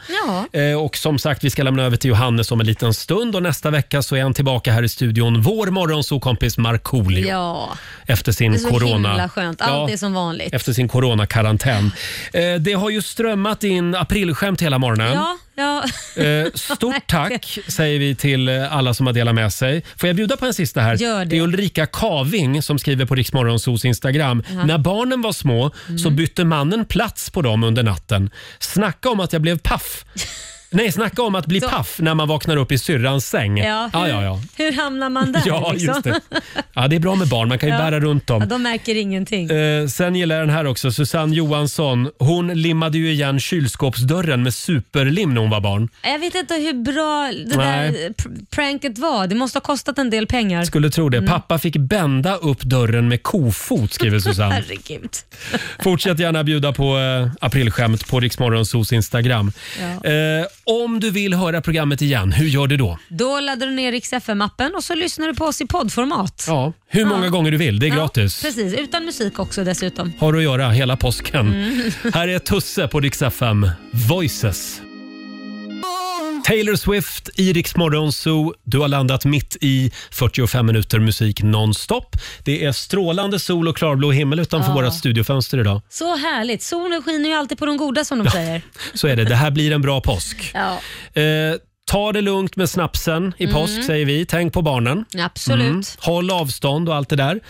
Ja. Eh, Och som sagt, vi ska lämna över till Johannes om en liten stund och nästa vecka så är han tillbaka här i studion. Vår morgonsokompis Markoolio Ja, efter det sin är så Mm, corona... himla skönt. Allt Ja, är som vanligt. Efter sin coronakarantän. Eh, Det har ju strömmat in aprilskämt hela morgonen. Ja, ja. Eh, Stort tack säger vi till eh, alla som har delat med sig. Får jag bjuda på en sista här? Gör det. är Ulrika Kaving som skriver på Riksmorgonsos Instagram. Ja. Mm. När barnen var små så bytte mannen plats på dem under natten. Snacka om att jag blev paff. Nej, snacka om att bli paff när man vaknar upp i syrrans säng. Ja, hur, ja, ja, ja. hur hamnar man där? Ja, liksom? just det. ja, det är bra med barn. Man kan ju Ja. bära runt dem. Ja, de märker ingenting. Eh, sen gillar jag den här också. Susanne Johansson. Hon limmade ju igen kylskåpsdörren med superlim när hon var barn. Jag vet inte hur bra det Nej. där pr- pranket var. Det måste ha kostat en del pengar. Skulle tro det. Mm. Pappa fick bända upp dörren med kofot, skriver Susanne. Herregud. Fortsätt gärna bjuda på eh, aprilskämt på Riksmorgonsos Instagram. Ja. Eh, om du vill höra programmet igen, hur gör du då? Då laddar du ner Rix FM-appen och så lyssnar du på oss i poddformat. Ja, hur många gånger du vill. Det är Ja, gratis. Precis, utan musik också dessutom. Har att göra hela påsken. Mm. Här är Tusse på Rix FM. Voices. Taylor Swift i Rix Morgon Zoo. Du har landat mitt i 45 minuter musik nonstop. Det är strålande sol och klarblå himmel utanför Ja. vårt studiofönster idag. Så härligt. Solen skiner ju alltid på de goda som de säger. Så är det. Det här blir en bra påsk. Ja, Eh, ta det lugnt med snapsen i Mm. påsk säger vi. Tänk på barnen. absolut. Mm. Håll avstånd och allt det där.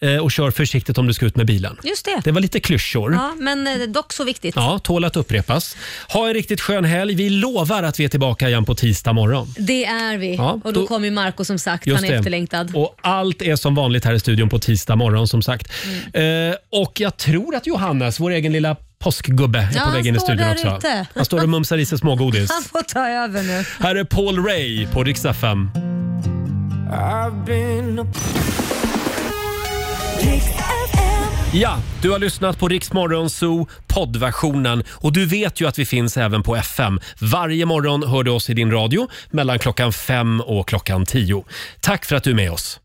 Eh, och kör försiktigt om du ska ut med bilen. Just det. Det var lite klyschor. Ja, men eh, dock så viktigt. Ja, tål att upprepas. Ha en riktigt skön helg. Vi lovar att vi är tillbaka igen på tisdag morgon. Det är vi. Ja, och då, då- kommer ju Marco som sagt. Just Han är det. efterlängtad. Och allt är som vanligt här i studion på tisdag morgon som sagt. Mm. Eh, och jag tror att Johannes, vår egen lilla påskgubbe, är Ja, på han väg in i står studion där också. ute. Han står och mumsar i sig smågodis. Han får ta över nu. Här är Paul Ray på riksdag 5. I've been a Ja, du har lyssnat på Riksmorgon Zoo poddversionen och du vet ju att vi finns även på FM. Varje morgon hör du oss i din radio mellan klockan fem och klockan tio. Tack för att du är med oss.